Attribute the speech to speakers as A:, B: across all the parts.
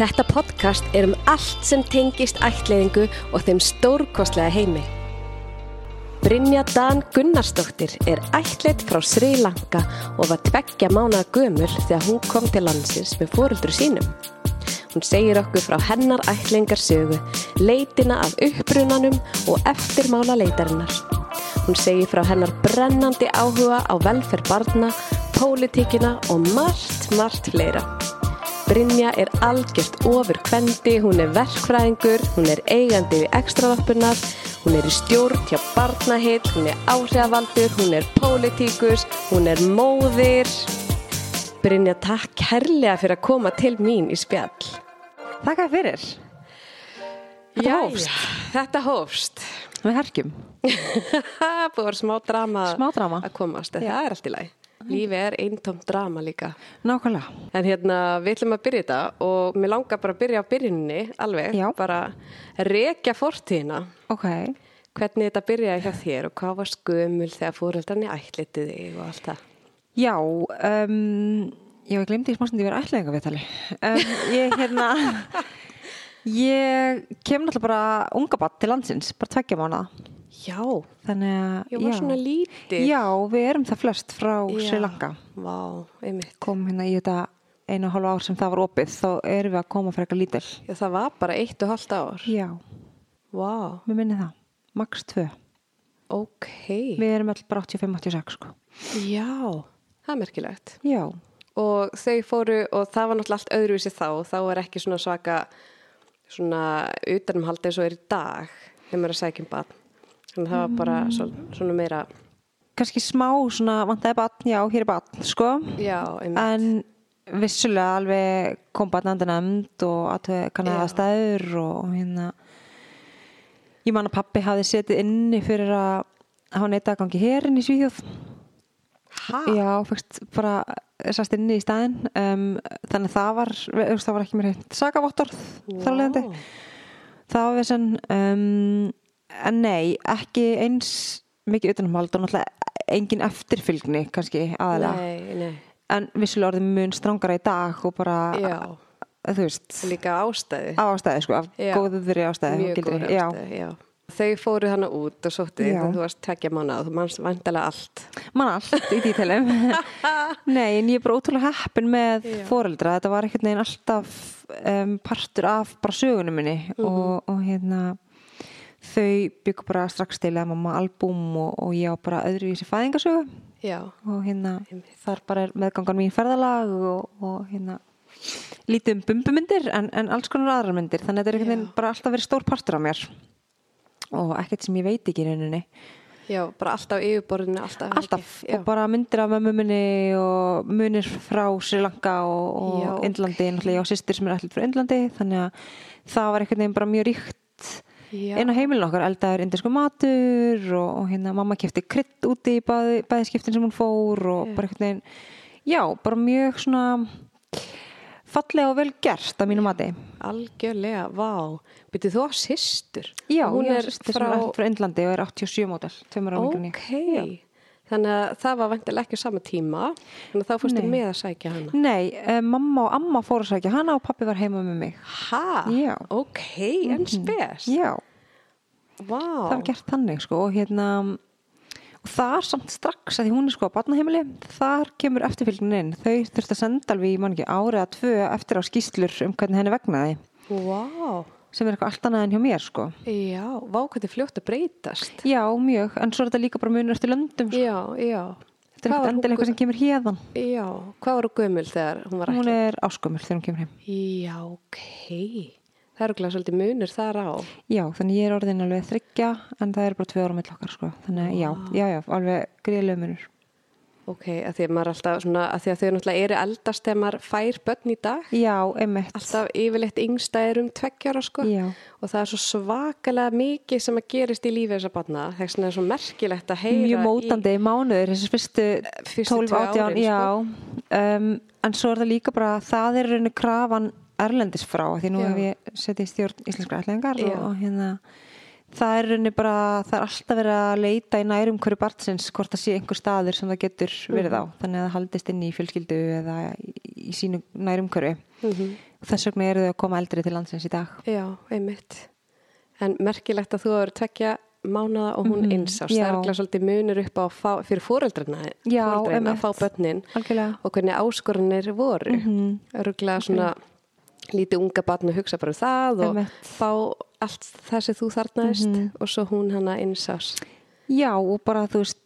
A: Þetta podcast er um allt sem tengist ættleiðingu og þeim stórkostlega heimi. Brynja Dan Gunnarsdóttir er ættleitt frá Sri Lanka og var tveggja mánaða gömul þegar hún kom til landsins með fóruldru sínum. Hún segir okkur frá hennar ættleiðingarsögu, leitina af upprunanum og eftirmála leitarinnar. Hún segir frá hennar brennandi áhuga á velferð barna, pólitíkina og margt, margt fleira. Brynja er algjört ofur kvendi, hún er verkfræðingur, hún er eigandi við ekstravarpunar, hún er í stjórn hjá barnahill, hún er áhrifavaldur, hún er pólitíkus, hún er móðir. Brynja, takk kærlega fyrir að koma til mín í spjall.
B: Takk að fyrir. Þetta
A: Jæja,
B: hófst.
A: Þetta hófst.
B: Við herkjum.
A: Búið var smá drama,
B: Smá drama.
A: að komast, en það er allt í lagi. Lífið er eintomt drama líka.
B: Nákvæmlega.
A: En hérna, við ætlum að byrja þetta og mér langar bara að byrja á byrjuninni alveg,
B: Já.
A: bara rekja fortíðina.
B: Ok.
A: Hvernig þetta byrjaði hjá þér og hvað var skömmul þegar fóröldarni ætlitið þig og allt það.
B: Já, um, ég glemdi í smástundi að vera ætlaðingar við tali. Um, ég, hérna, ég kem náttúrulega bara unga batt til landsins, bara tveggja mánuða.
A: Já,
B: Þannig að,
A: ég var svona lítið.
B: Já, við erum það flest frá Sri Lanka.
A: Vá, einmitt.
B: Kom hérna í þetta einu og hálfa ár sem það var opið, þá erum við að koma frekar lítil.
A: Já, það var bara eitt og halvt ár.
B: Já,
A: Vá,
B: mér minni það. Max 2.
A: ok.
B: Við erum alltaf bara 85-86, sko.
A: Já, það er merkilegt.
B: Já,
A: og þau fóru og það var náttúrulega allt öðruvísi þá þá var ekki svona svaka svona utanumhald eins og er í dag þegar maður er að sækja um barn þannig að það var bara svo, svona meira
B: kannski smá svona vantaði batn, já, hér er batn, sko.
A: já, einmitt,
B: En vissulega alveg kom batnandi nefnd og aðtöð kannaði
A: Já.
B: aðstæður og hérna. Ég man að pappi hafði setið inni fyrir að hafa neitt aðgangi hérinn í Svíþjóð.
A: ha,
B: Já, fyrst bara sast inni í staðinn. Um, þannig að það var, þú veist, það var ekki mér heitt sakavottorð þar
A: Vá.
B: að leiðandi. Það var vissan, um, en nei, ekki eins mikið utanumhald og náttúrulega engin eftirfylgni kannski aðalega
A: nei, nei,
B: en vissulega orðið mun strangara í dag og bara,
A: já
B: þú veist,
A: líka ástæði,
B: af ástæði sko, af
A: Já.
B: góðuðri ástæði. og
A: mjög
B: gildri.
A: góð ástæði já. þau fóru hana út og sótti
B: Já.
A: þegar þú varst tekja mánuð þú manst vandalega allt
B: Já, mann allt í dítelum. Nei, en ég er bara ótrúlega heppin með
A: Já.
B: foreldra, þetta var einhvern veginn alltaf um, partur af bara sögunum minni
A: Mhm.
B: og, og hérna, þau byggur bara strax til að mamma albúm og, og ég á bara öðruvísi fæðingasögu
A: já,
B: og hérna,
A: Einmitt.
B: þar bara er meðgangan mín ferðalag og, og hérna lítið um bumbumyndir en, en alls konar aðrar myndir þannig að þetta er einhvern veginn bara alltaf verið stór partur af mér og ekkert sem ég veit ekki í rauninni
A: já, bara alltaf yfirborðinu alltaf,
B: alltaf
A: já,
B: og bara myndir af mömmu minni og munir frá Sri Lanka og,
A: Já,
B: og
A: ok.
B: Indlandi, náttúrulega ég á sýstir sem er allir frá Indlandi þannig að það var einhvern veginn bara mjög ríkt
A: já,
B: inn á heimilin okkar, eldaður indisku matur og, og hérna mamma kefti krydd úti í bæði, bæði skiptin sem hún fór og bara einhvern veginn, já, bara mjög svona fallega og vel gert að mínu mati.
A: algjörlega, vá byrjuð þú á systur
B: Já,
A: hún
B: ég á
A: er
B: systur sem
A: frá
B: er allt frá Indlandi og er 87 mótel, tveimur ára yngri en ég.
A: Ok, þannig að það var vantilega ekki á sama tíma, þannig að þá fórstu með að sækja hana.
B: Nei, eh, mamma og amma fóru að sækja hana og pappi var heima með mig.
A: Ha?
B: Já. Mhm.
A: Ok, en spes.
B: Já,
A: Vá.
B: það var gert þannig sko og hérna og þar samt strax að því hún er sko á barnaheimili, þar kemur eftirfylgnin inn þau þurftu að senda alveg, ég man ekki árið að tvö eftir á skýslur um hvernig henni vegnaði
A: Vá.
B: sem er eitthvað allt annað en hjá mér sko
A: Já, vá hvað þið fljótt að breytast.
B: Já, mjög, en svo er þetta líka bara munur eftir löndum sko.
A: Já, já.
B: þetta er
A: Hvað var
B: ekkert
A: hún
B: endilega eitthvað sem kemur hérðan
A: gö- Já, hvað var hún gömul þegar hún var
B: hún
A: ekki?
B: er áskömmul þegar hún kemur heim
A: Já, ok. Það eru glæð svolítið munur þar á.
B: Já, þannig ég er orðin alveg þryggja en það er bara tvö ára mitt okkar sko þannig að já,
A: Ah.
B: já, já, alveg gríðlega munur
A: Ok, að því að maður alltaf svona, að því að þau náttúrulega eru eldast þegar maður fær börn í dag.
B: Já, einmitt
A: Alltaf yfirleitt yngsta er um tveggjára sko.
B: Já.
A: og það er svo svakalega mikið sem að gerist í lífi þessa barna þess vegna er svo merkilegt að heyra
B: mjög mótandi mánuður þessi fyrstu,
A: Fyrstu
B: 12,
A: tvö
B: 18,
A: árin, sko.
B: já um, en svo er það líka bara það er rauninu krafan erlendis frá af því nú
A: Já.
B: hef ég setið í stjórn íslenskra ætlingar
A: Já.
B: og, og hérna það er rauninni bara, það er alltaf verið að leita í nærum hverju barnsins hvort það sé einhver staðir sem það getur verið
A: Mhm.
B: á þannig að það haldist inn í fjölskyldu eða í, í sínu nærum hverju þess vegna eru þau að koma eldri til landsins í dag
A: Mhm. Já, einmitt. En merkilegt að þú hefur tvekja mánaða og hún mm -hmm.
B: Mhm,
A: einsás. Það
B: já.
A: er ekki svolítið munur upp á að fá, fyrir fóreldrarna
B: Já,
A: foreldrana að
B: einmitt. Mhm.
A: fá börnin
B: algjörlega
A: og hvernig áskorunir voru. Mm -hmm. svona lítið unga barn að hugsa bara um það og
B: Einmitt. Mhm.
A: fá allt það sem þú þarnaðist og svo hún hana einsás.
B: Já og bara þú veist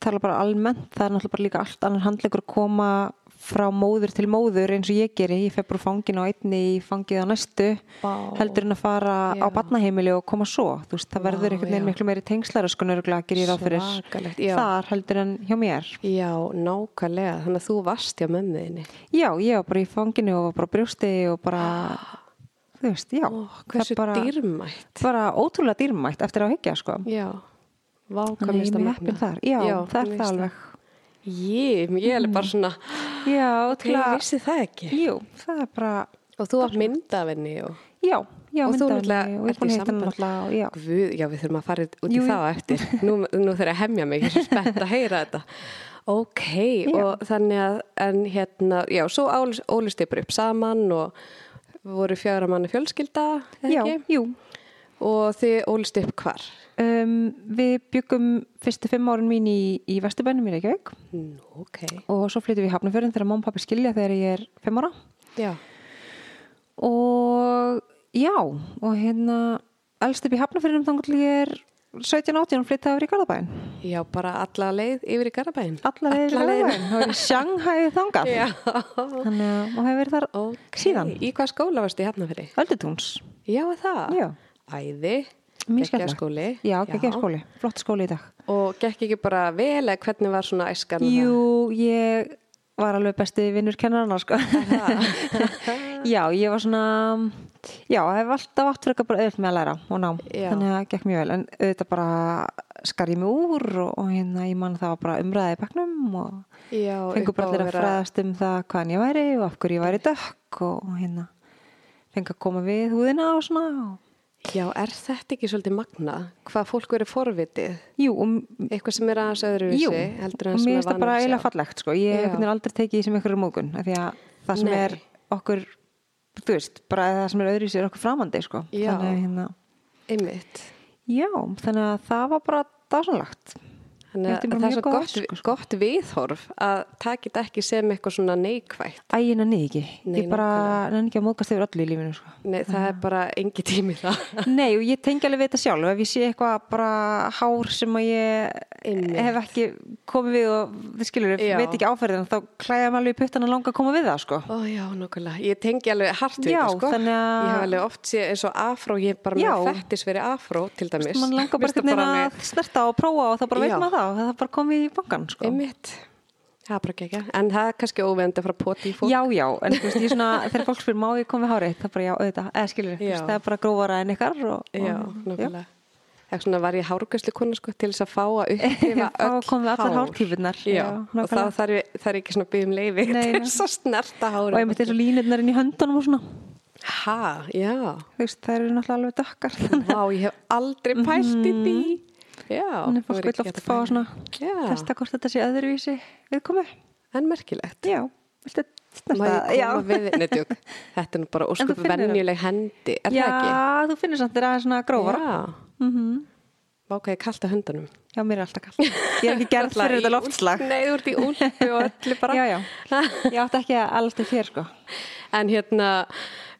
B: tala bara almennt, það er náttúrulega bara líka allt annar handlegur að koma frá móður til móður eins og ég geri, ég fer bara úr fanginu á einni í fangið á næstu
A: Vá.
B: heldur en að fara
A: Já.
B: á barnaheimili og koma svo, þú veist, það
A: Vá,
B: verður einhvern
A: já.
B: veginn miklu meiri sko tengslaröskun örgulega gerir ég ráð fyrir
A: Svakalegt, já.
B: þar heldur en hjá mér
A: Já, nákvæmlega. Þannig að þú varst hjá mömmuðinni.
B: Já, ég var bara í fanginu og var bara á brjósti og bara, þú veist, já
A: Ó,
B: Það
A: hversu
B: er bara,
A: dýrmætt.
B: bara ótrúlega dýrmætt eftir á higgja, sko
A: Já, vá, hvað
B: Þannig
A: minnst
B: ég
A: að
B: er mjög heppin
A: magna.
B: þar, já, það
A: mér
B: er
A: finnst
B: það alveg Mhm.
A: Ég, ég er bara svona,
B: Já,
A: ég
B: ótrúlega
A: vissi það ekki.
B: Jú, það er bara,
A: Og þú átt mynd af henni og...
B: já, já,
A: og þú
B: myndaði
A: náttúrulega
B: mig og ég er búin að hitta hann
A: sambandi.
B: náttúrulega, og- já.
A: Guð, já, við þurfum að fara út í
B: Jú, jú.
A: það á eftir. Nú, nú þurfum ég að hemja mig, ég er svo spennt að heyra þetta. Ok, og þannig að, en hérna, já, svo ólist ég bara upp saman og voru fjögra manni fjölskylda, eða
B: Já,
A: ekki?
B: jú.
A: Og þið ólist upp hvar?
B: Um, við byggum fyrstu fimm árin mín í, í Vesturbænum í Reykjavík
A: Nú, ok.
B: og svo flyttum við í Hafnafjörðin þegar mamma og pappi skilja þegar ég er fimm ára
A: Já,
B: og já, og hérna elst upp í Hafnafjörðinum þannig til ég er 17-18 og flytta yfir í Garðabæn
A: já, bara alla leið yfir í Garabæn.
B: Alla leið yfir í Garðabæn, þá er ég Shanghai þangað
A: Já,
B: Þannig að og hefur verið þar
A: ok.
B: síðan,
A: Í hvað skóla varstu í Hafnafjörði?
B: öldutúns
A: Já, það.
B: Já.
A: Æði,
B: Mjög skemmtilegt.
A: geggjaskóli.
B: Já, geggjaskóli, flott skóli í dag.
A: Og gekk ekki bara vel eða hvernig var svona æskan?
B: Jú, ég var alveg besti vinnur kennarana, sko. já, ég var svona, já, það hef alltaf átt frekar bara auðvitað með að læra og nám.
A: Já.
B: Þannig að það gekk mjög vel, en auðvitað bara skar ég mig úr og, og hérna, ég man að það var bara umræðið í bekknum og
A: Já,
B: fengur
A: upp á
B: bara allir
A: vera-
B: að fræðast um það hvaðan ég væri og af hverju ég væri dökk og, og hérna, fengur að koma við húðina og svona og
A: Já, er þetta ekki svolítið magna? Hvað fólk verið forvitið?
B: Jú, og
A: Eitthvað sem er aðeins öðruvísi?
B: Jú,
A: heldur en
B: og
A: sem
B: mér
A: er
B: finnst það
A: vanur
B: bara
A: að sjá.
B: eiginlega fallegt sko. ég
A: Já.
B: hef einhvern veginn aldrei tekið því sem einhverjum mógun af því að það sem
A: Nei.
B: er okkur þú veist, bara það sem er öðru sér okkur framandi sko.
A: Já.
B: þannig að hérna
A: Einmitt.
B: já, þannig að það var bara dásanlegt
A: Þannig
B: Þetta er
A: að
B: bara
A: það er
B: mjög
A: svo
B: góð
A: gott,
B: æska, sko.
A: gott viðhorf að takit ekki sem eitthvað svona neikvægt.
B: ægina niður ekki,
A: Nei,
B: ég bara nenni ekki að móðgast yfir öllu í lífinu sko.
A: Nei, það er bara engi tími í það.
B: Nei, og ég tengi alveg við þetta sjálf ef ég sé eitthvað bara hár sem að ég
A: Einmitt.
B: hef ekki komið við og þið skilur,
A: Já.
B: veit ekki áferðin þá klæða maður alveg í puttana langa að koma við það sko.
A: Ó já, nokkulega. Ég tengi alveg hart við
B: Já,
A: þetta, sko.
B: þannig að-
A: Ég hef alveg oft séð eins og afró, ég er bara
B: Já.
A: með fettis verið afró, til dæmis.
B: mann langar bara
A: Mér finnst
B: einhvern
A: það
B: veginn að snerta og prófa og þá bara veit
A: Já.
B: maður það og það bara komið í bankan sko.
A: alveg- Einmitt. Það er bara ekki En það er kannski óvend að fara að poti í fólk.
B: Já, já, en þú veist, ég svona, þegar fólk spyr má ég koma við hárið, það bara já, auðvitað, eða skilur, þú
A: Já.
B: veist, það er bara grófara en ykkar og,
A: já
B: og,
A: nokkulega. Eitthvað svona var ég hárgæslu konu, sko, til þess að fá að upplifa
B: Fá að
A: öll
B: koma við allar
A: hár.
B: hártífurnar.
A: Já,
B: Já,
A: og það
B: nákvæmlega.
A: þarf, ég- þarf ég ekki svona að byggja um leiði
B: Nei,
A: til
B: nei.
A: þess að snerta
B: og
A: hárið.
B: einmitt eins og línirnar inn í höndunum og svona,
A: Ha, já.
B: þú veist, það eru náttúrulega alveg dökkar, þannig
A: Vá, ég hef aldrei pælt
B: Mhm.
A: í því. Já.
B: að
A: væri
B: fólk
A: ekki
B: vil
A: hægt
B: oft
A: að
B: fá
A: pæla.
B: svona,
A: Já.
B: testa hvort þetta sé öðruvísi viðkomi,
A: En merkilegt.
B: já, viltu
A: Má
B: snerta,
A: ég koma við, neðjúk, þetta er nú bara
B: En þú
A: óskup
B: finnur það.
A: venjuleg hendi, er
B: já,
A: það ekki?
B: þú finnir samt þér aðeins svona grófara, Mhm.
A: Já. Vá, hvað ég kallt að hundunum.
B: já, mér er alltaf kall, ég er ekki gerð
A: Alla
B: fyrir
A: í
B: þetta
A: úlpu-
B: loftslag,
A: Nei, þú ert í úlpu og öllu bara.
B: já, já, ég átti ekki að alast upp hér, sko.
A: En hérna,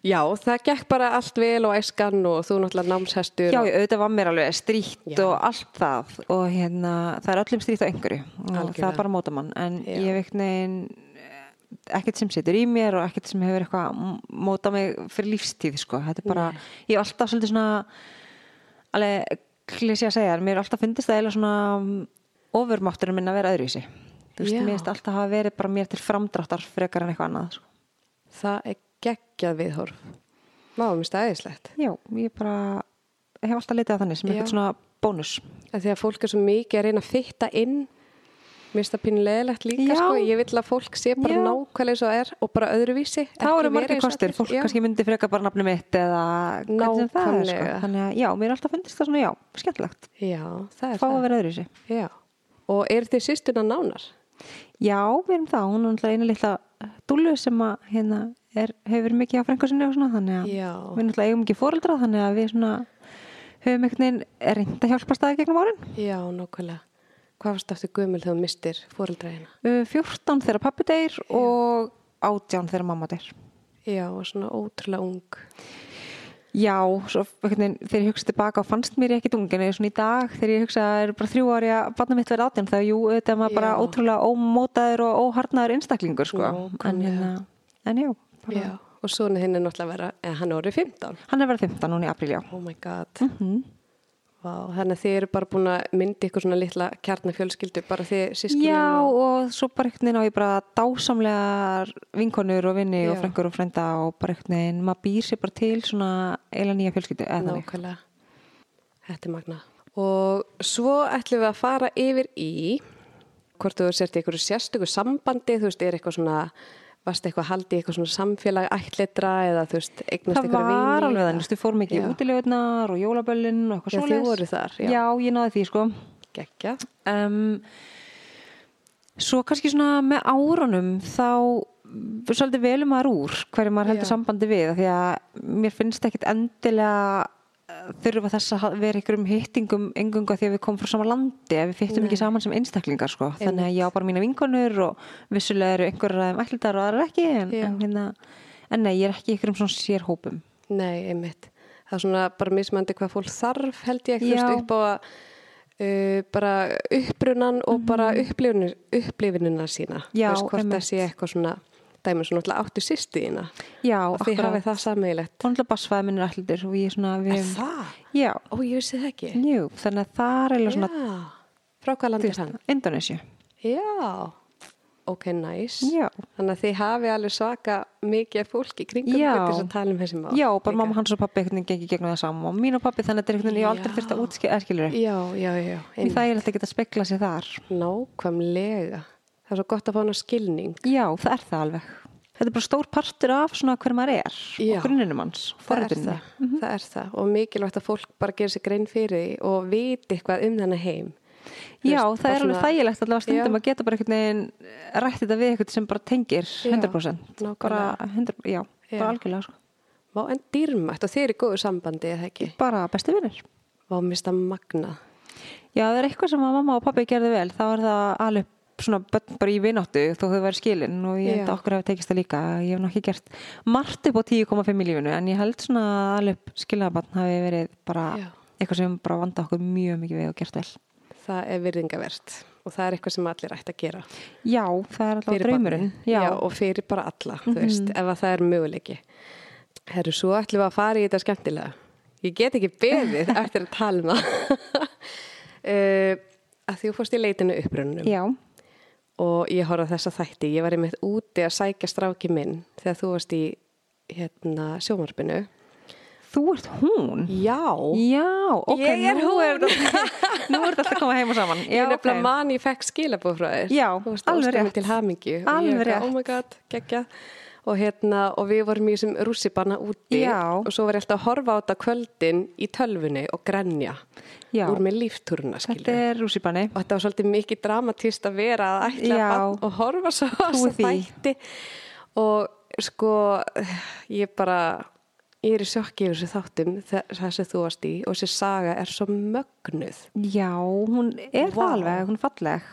A: já, það gekk bara allt vel og æskan og þú náttúrulega námshestur.
B: Já,
A: og-
B: já, auðvitað var mér alveg strítt
A: Já.
B: og allt það og hérna, það er öllum strítt á einhverju og það
A: Algjörlega.
B: er bara móta mann en
A: Já.
B: ég hef einhvern veginn eh, ekkert sem situr í mér og ekkert sem hefur eitthvað m- mótað mig fyrir lífstíð sko. þetta er bara, ég hef alltaf svolítið svona alveg klísi að segja, en mér er alltaf fundist það eiginlega svona mm, ofurmátturinn minn að vera öðruvísi þú veist,
A: Já.
B: mér veist alltaf hafa verið bara mér til framdráttar frekar en eitthvað annað sko.
A: Það er geggjað viðhorf. Má, mér stæðislegt.
B: já, ég bara hef alltaf litið að þannig sem
A: Já.
B: eitthvað svona bónus
A: Þegar fólk er svo mikið að reyna að fitta inn Mér finnst það pínulegilegt líka,
B: Já.
A: sko, ég vil að fólk sé bara
B: Já.
A: nákvæmlega eins og er og bara öðruvísi.
B: Þá
A: Ekki
B: eru
A: vera
B: margir
A: eins og
B: kostir,
A: allir.
B: fólk
A: Já.
B: kannski myndi freka bara nafnum mitt eða hvernig sem það er sko.
A: Nákvæmlega.
B: Þannig að já, mér er alltaf fundist það svona já, skemmtilegt,
A: Já, það er
B: fá að
A: það.
B: vera öðru sér.
A: Já, og eru þið sýstuna nánar?
B: Já, við erum það, hún er náttúrulega eina litla dúllu sem að hérna er, hefur verið mikið á frængu sinni og svona, þannig að
A: Já.
B: við náttúrulega eigum ekki fóreldra, þannig að við svona höfum einhvern veginn reynd að hjálpa staði gegnum árin.
A: Já, nákvæmlega. Hvað varst aftur gömul þegar þú mistir fóreldræðina?
B: Uh, 14 þegar pappi deyr og 18 þegar mamma deyr.
A: Já, og svona ótrúlega ung.
B: Já, svo, einhvern veginn, þegar ég hugsa tilbaka og fannst mér ég ekki tung, en ég er svona í dag þegar ég hugsa að það eru bara þrjú ári að barna mitt verið átján, þá jú, þetta er maður bara
A: Já.
B: ótrúlega ómótaður og óharnaður einstaklingur, sko. en,
A: Nákvæmlega.
B: hérna, en já, bara,
A: Já, og svona hinn er náttúrulega að vera, eða hann er orðið 15.
B: hann er verið 15 núna í apríl, já.
A: Oh my god.
B: Mm.
A: Vá, þannig að þið eru bara búin að myndi ykkur svona litla kjarnafjölskyldu, bara þið sískinin
B: Já,
A: og...
B: og svo bara einhvern veginn á ég bara dásamlegar vinkonur og vinni og
A: Já.
B: frængur og frænda og bara einhvern veginn, maður býr sér bara til svona eila nýja fjölskyldu, eða þannig.
A: Nákvæmlega. Þetta er magna. Og svo ætlum við að fara yfir í hvort þú sért í einhverju sérstöku sambandi, þú veist, er eitthvað svona, varst eitthvað haldið í eitthvað svona samfélag ættlitra eða þú veist, eignast
B: Það
A: einhverju vini.
B: var alveg þannig, við fórum ekki
A: Já.
B: útilegurnar og jólaböllin og
A: Já,
B: eitthvað
A: þið
B: svoleiðis.
A: voruð þar, já.
B: Já, ég náði því, sko.
A: Gekja.
B: Um, svo kannski svona með árunum þá svolítið velum maður úr hverju maður heldur
A: Já.
B: sambandi við af því að mér finnst ekkit endilega eh, þurfa þess að ha- vera einhverjum hittingum engunga því að við komum frá sama landi ef við fyttum
A: Nei.
B: ekki saman sem einstaklingar sko. þannig að ég á bara mína vinkonur og vissulega eru einhverjar aðeim ætlindar og aðrar ekki en,
A: Já.
B: en, hérna, en nei, ég er ekki í einhverjum svona sérhópum
A: Nei, einmitt. Það er svona bara mismandi hvað fólk þarf held ég þú
B: Já.
A: veist upp á að uh, bara upprunan og bara upplifunir, upplifunina sína.
B: Mhm.
A: Þú
B: Já,
A: veist, hvort
B: einmitt.
A: það sé eitthvað svona dæmi svona alltaf áttu sýstu þína.
B: Já,
A: og því hafið það sammeilegt.
B: og náttúrulega basfæði minn er ætlindir og ég svona við,
A: Það?
B: Já,
A: Ó, ég vissi það ekki.
B: jú, þannig að það er eiginlega svona
A: Já. Frá hvað landið hann?
B: Indonesia
A: Já. Ok, næs.
B: Já.
A: Þannig að þið hafið alveg svaka mikið af fólki í kringum
B: Já.
A: ykkur til þess að tala um þessi mál.
B: Já, bara
A: líka.
B: mamma hans og pappi einhvern veginn gengi gegnum það saman og mín og pappi þannig að þetta er einhvern veginn ég hef aldrei
A: Já.
B: þurft að útskilja skilur ég
A: Já, já, já. einmitt.
B: það er alltaf ekki að spegla sér þar
A: Nákvæmlega. Það er svo gott að fá hana skilning.
B: Já, það er það alveg Þetta er bara stór partur af svona hver maður er
A: Já.
B: og grunninum hans, forundinni
A: Það er það. það er það. Og mikilvægt að fólk bara gerir sér grein fyrir því og viti eitthvað um þennan heim. Þú
B: Já,
A: veist,
B: það
A: bara
B: er alveg
A: svona-
B: þægilegt allavega stundum
A: Já.
B: að geta bara einhvern veginn rætt þetta við einhvern sem bara tengir 100%
A: nákvæmlega.
B: bara 100, já, bara
A: Já.
B: algjörlega sko.
A: Vá, en dýrmætt og þeir eru í góðu sambandi eða ekki.
B: bara besti vinnir
A: Vá, mista magna.
B: Já, það er eitthvað sem að mamma og pappi gerði vel þá er það alveg svona börn bara í vináttu þó þau væri skilin og ég held
A: Já.
B: að okkur hefur tekist það líka ég hef nú ekki gert margt upp á 10,5 í lífinu en ég held svona að alveg skilnaðabann hafi verið bara
A: Já.
B: eitthvað sem bara vanda okkur mjög mikið við og gert vel
A: Það er virðingavert og það er eitthvað sem allir ætti að gera.
B: Já, það er alltaf draumurinn
A: barnið. Já. og fyrir bara alla, þú veist, ef að það er möguleiki. Herru, svo ætlum við að fara í þetta skemmtilega. Ég get ekki beðið eftir að tala um það. uh, að því þú fórst í leitinu upprönnum.
B: Já,
A: og ég horfði á þessa þætti. Ég var einmitt úti að sækja stráki minn þegar þú varst í hérna, sjómarpinu.
B: þú ert hún
A: Já,
B: Já, ok
A: Ég er
B: nú
A: hún.
B: er þetta- Nú er þetta alltaf að koma heim og saman
A: ég
B: Já,
A: er nefnilega
B: ok.
A: mann, ég fekk skilabóð frá þér.
B: Já,
A: Þú varst
B: alveg
A: óskar
B: rétt.
A: til hamingju.
B: Alveg rétt.
A: rétt. Oh my god, geggja. Og, hérna, og við vorum í þessum rússipanna úti
B: Já.
A: og svo var ég alltaf að horfa á þetta kvöldin í tölvunni og grenja
B: Já.
A: úr með líftúruna, skilur.
B: Þetta er rússipanni
A: og þetta var svolítið mikið dramatist að vera að ætla
B: Já.
A: barn og horfa svo á
B: Trúi
A: þessa
B: því.
A: þætti og sko ég bara ég er í sjokki yfir þessu þáttum þessi þú varst í og þessi saga er svo mögnuð
B: Já, hún er
A: Vá.
B: það alveg, hún er falleg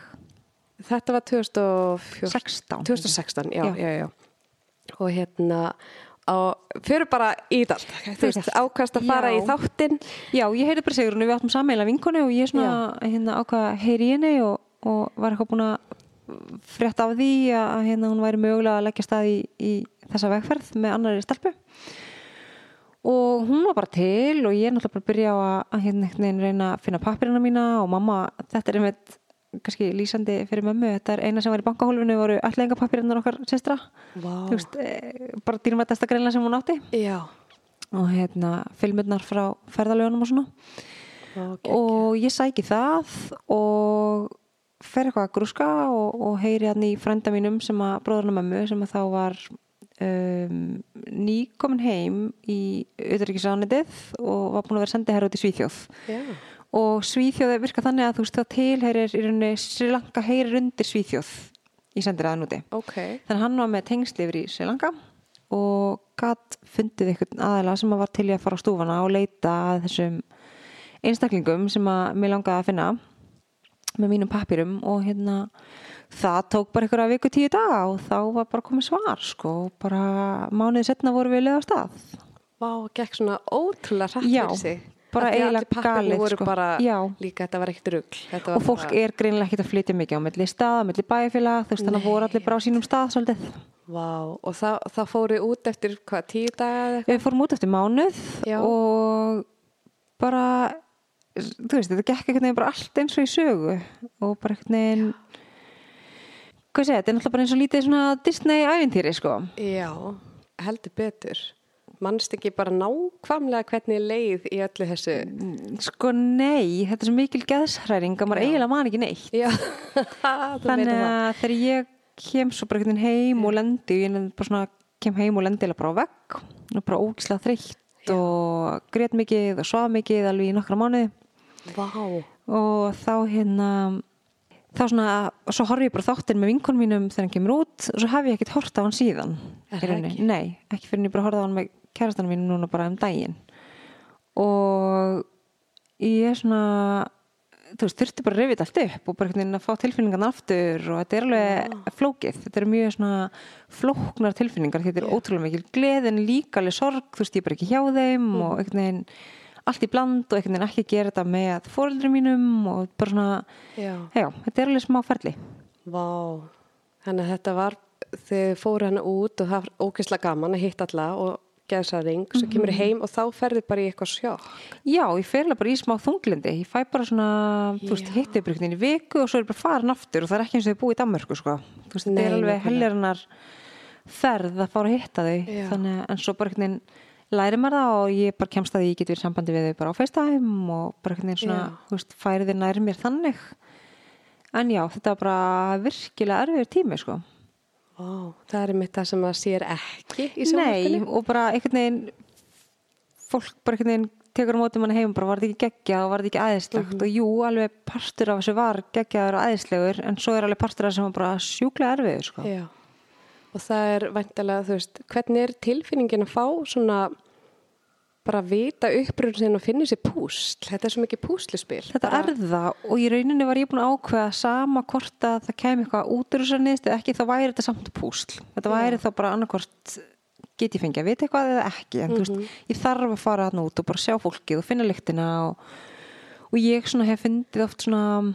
A: þetta var 2014
B: 16.
A: 2016, já,
B: Já.
A: já, já, og hérna og fyrir bara í þetta allt. þú
B: Fyrir
A: veist,
B: allt.
A: ákvæmst að fara
B: Já.
A: í þáttin
B: Já, ég heiti bara Sigrunu, við áttum sammeila vinkonu og ég svona hérna ákvað að heyri í henni og, og var eitthvað búin að frétta af því að að hérna hún væri mögulega að leggja stað í, í þessa vegferð með annari stelpu og hún var bara til og ég er náttúrulega bara að byrja á að, að hérna einhvern veginn reyna að finna pappirina mína og mamma, þetta er einmitt kannski lýsandi fyrir mömmu, þetta er eina sem var í bankahólfinu voru allega pappirinnar okkar sestra,
A: Vá.
B: þú veist, eh, bara dýrmættasta greinlega sem hún átti
A: já,
B: og hérna filmurnar frá ferðalögunum og svona
A: ok,
B: og ég sæki það og fer eitthvað að grúska og, og heyri hann í frænda mínum sem að bróðurna mömmu sem að þá var um, nýkomin heim í auðvitaðrikisánettið og var búin að vera sendið út í Svíþjóð
A: Já.
B: og Svíþjóð virka þannig að þú veist það tilheyrir í rauninni Sri Lanka heyrir undir Svíþjóð í sendiræðan úti
A: Ok.
B: þannig að hann var með tengsli yfir í Sri Lanka og gatt fundið einhvern aðila sem að var til í að fara á stúfana og leita að þessum einstaklingum sem að mér langaði að finna með mínum pappirum og hérna það tók bara einhverja viku tíu daga og þá var bara komið svar sko og bara mánuðið setna vorum við leið á stað
A: Vá, gekk svona ótrúlega hratt
B: Já,
A: fyrir sig.
B: bara
A: Af því að
B: eiginlega
A: allir pappírnir
B: galið,
A: voru
B: sko.
A: bara
B: Já.
A: líka, þetta var ekkert rugl. Þetta
B: og
A: var
B: fólk
A: bara,
B: er greinilega ekkert að flytja mikið á milli staða, milli bæfélag þú veist þannig að voru allir bara á sínum stað svolítið
A: Vá, og það, það fóru út eftir hvað, tíu daga eða eitthvað?
B: Við fórum út eftir mánuð
A: Já.
B: og bara, þú veist, þetta gekk einhvern veginn bara allt eins og í sögu og bara einhvern veginn, hvað segja, þetta er náttúrulega bara eins og lítið svona Disney-ævintýri, sko.
A: Já, heldur betur. Manst ekki bara nákvæmlega hvernig leið í öllu þessu?
B: Sko nei, þetta er svo mikil geðshræring að maður eiginlega man ekki neitt.
A: Já, þú
B: Þannig
A: meinar það.
B: að þegar ég kem svo bara einhvern veginn heim og lendi og ég er bara svona, kem heim og lendi eða bara á vegg og bara ógislega þreytt og grét mikið og svaf mikið alveg í nokkra mánuði.
A: Vá,
B: og þá hérna þá svona, og svo horf ég bara á þáttinn með vinkonum mínum þegar hann kemur út og svo hef ég ekkert hort á hann síðan
A: Er
B: í
A: það
B: rauninni.
A: ekki?
B: Nei, ekki fyrir en ég bara horfði á hann með kærastanum mínum núna bara um daginn og ég er svona þú veist, þurfti bara að rifið allt upp og bara einhvern veginn að fá tilfinningarna aftur og þetta er alveg flókið, þetta eru mjög svona flóknar tilfinningar, þetta er ótrúlega mikil gleðin, líka alveg sorg, þú veist, ég er bara ekki hjá þeim og einhvern veginn allt í bland og einhvern veginn ekki að gera þetta með fóreldri mínum og bara svona
A: já,
B: já, þetta er alveg smá ferli
A: vá. Þannig að þetta var, þau fóru hana út og það var ógeðslega gaman að hitta alla og geða þessa ring, svo kemur heim og þá ferðu bara í eitthvað sjokk.
B: Já, ég fer alveg bara í smá þunglindi ég fæ bara svona, þú veist,
A: Já.
B: hitti bara einhvern veginn í viku og svo er ég bara farin aftur og það er ekki eins og þau búið í Danmörku, sko þú veist, þetta
A: Nei,
B: er alveg
A: nákvæmlega.
B: helgarinnar ferð að fara að hitta þau
A: Já.
B: þannig, en svo bara einhvern veginn læri maður það og ég bara kemst að því ég get verið í sambandi við þau bara á FaceTime og bara einhvern veginn svona,
A: Já.
B: þú veist, færi þau nær mér þannig en já, þetta var bara virkilega erfiður tími, sko
A: Vá, það er mitt það sem maður sér ekki í
B: Nei,
A: sjónvarpinu.
B: og bara einhvern veginn fólk bara einhvern veginn tekur á mótum hann heim og bara var þetta ekki geggjað og var þetta ekki æðislegt
A: Mhm.
B: og jú, alveg partur af þessu var geggjaður og æðislegur en svo er alveg partur af þessu sem var bara sjúklega erfiður sko.
A: Já. Og það er væntalega, þú veist, hvernig er tilfinningin að fá svona bara vita uppröðun sinni og finna sér púsl? Þetta er svo mikið púsluspil.
B: Þetta er það og í rauninni var ég búin að ákveða sama hvort að það kemi eitthvað út úr þessu nýðist eða ekki þá væri þetta samt púsl. Þetta væri þá bara annarkvort get ég fengið að vita eitthvað eða ekki en
A: Mhm.
B: þú veist, ég þarf að fara hann út og bara sjá fólkið og finna lyktina og, og ég svona hef fundið oft svona,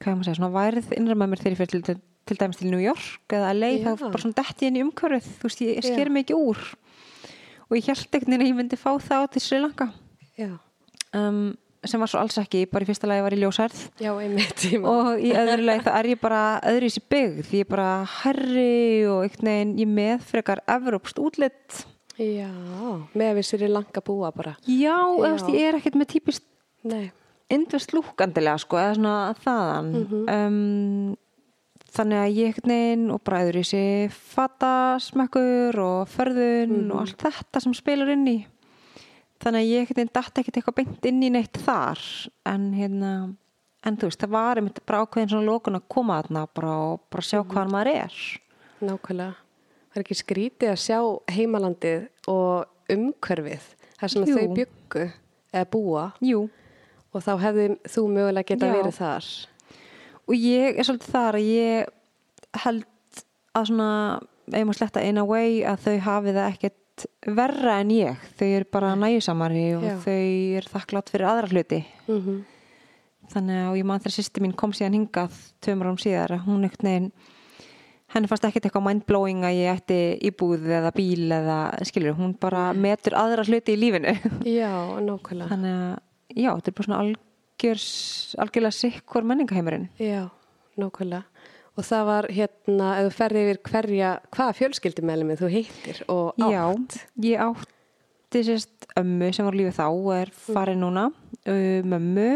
B: hvað ég maður segja, svona værið innra með mér þegar ég fyrir til, til dæmis til New York eða LA
A: Já.
B: þá bara svona detti ég inn í umhverfið, þú veist, ég, ég
A: Já.
B: sker mig ekki úr og ég held ekkert að ég myndi fá það til Sri Lanka
A: Já,
B: um, sem var svo alls ekki, bara í fyrsta lagi var ég ljósærð
A: já einmitt. ég man-
B: og í öðru lagi þá er ég bara öðru í sér byggð, ég er bara herri og einhvern veginn, ég er með frekar evrópst útlitt
A: Já, með að við sér í langa búa bara.
B: já,
A: Já.
B: já. Veist, ég er ekkert með típist
A: Nei.
B: indvest lúkandilega sko, eða svona þaðan um, þannig að ég einhvern veginn og bara öðru í sér fatasmekkur og förðun og allt þetta sem spilar inn í þannig að ég einhvern veginn datt ekkert eitthvað beint inn í neitt þar en hérna En þú veist, það var einmitt bara ákveðin svona lókun að koma þarna bara og bara sjá hvaðan maður er.
A: Nákvæmlega. Það er ekki skrítið að sjá heimalandið og umhverfið, þar sem
B: Jú.
A: Jú. þau byggu eða búa
B: Jú,
A: og þá hefði þú mögulega geta
B: Já.
A: verið þar.
B: og ég er svolítið þar að ég held að svona ef maður sletta in a way að þau hafi það ekkert verra en ég þau eru bara nægjusamari og
A: Já.
B: þau eru þakklátt fyrir aðra hluti
A: Mm
B: þannig að og ég man þegar sýsti mín kom síðan hingað tveimur árum síðar að hún ekkert neginn henni fannst ekkert eitthvað mindblowing að ég ætti íbúð eða bíl eða skilur hún bara metur aðra hluti í lífinu
A: Já, nákvæmlega.
B: þannig að já, þetta er bara svona algjörs, algjörlega sikkur menningaheimurinn
A: Já, nákvæmlega. Og það var hérna, ef þú ferði yfir hverja, hvaða fjölskyldumælimi þú hittir og átt.
B: Já, ég átti sérst ömmu sem var lífið þá og er
A: Mm.
B: farin núna, uh, mömmu,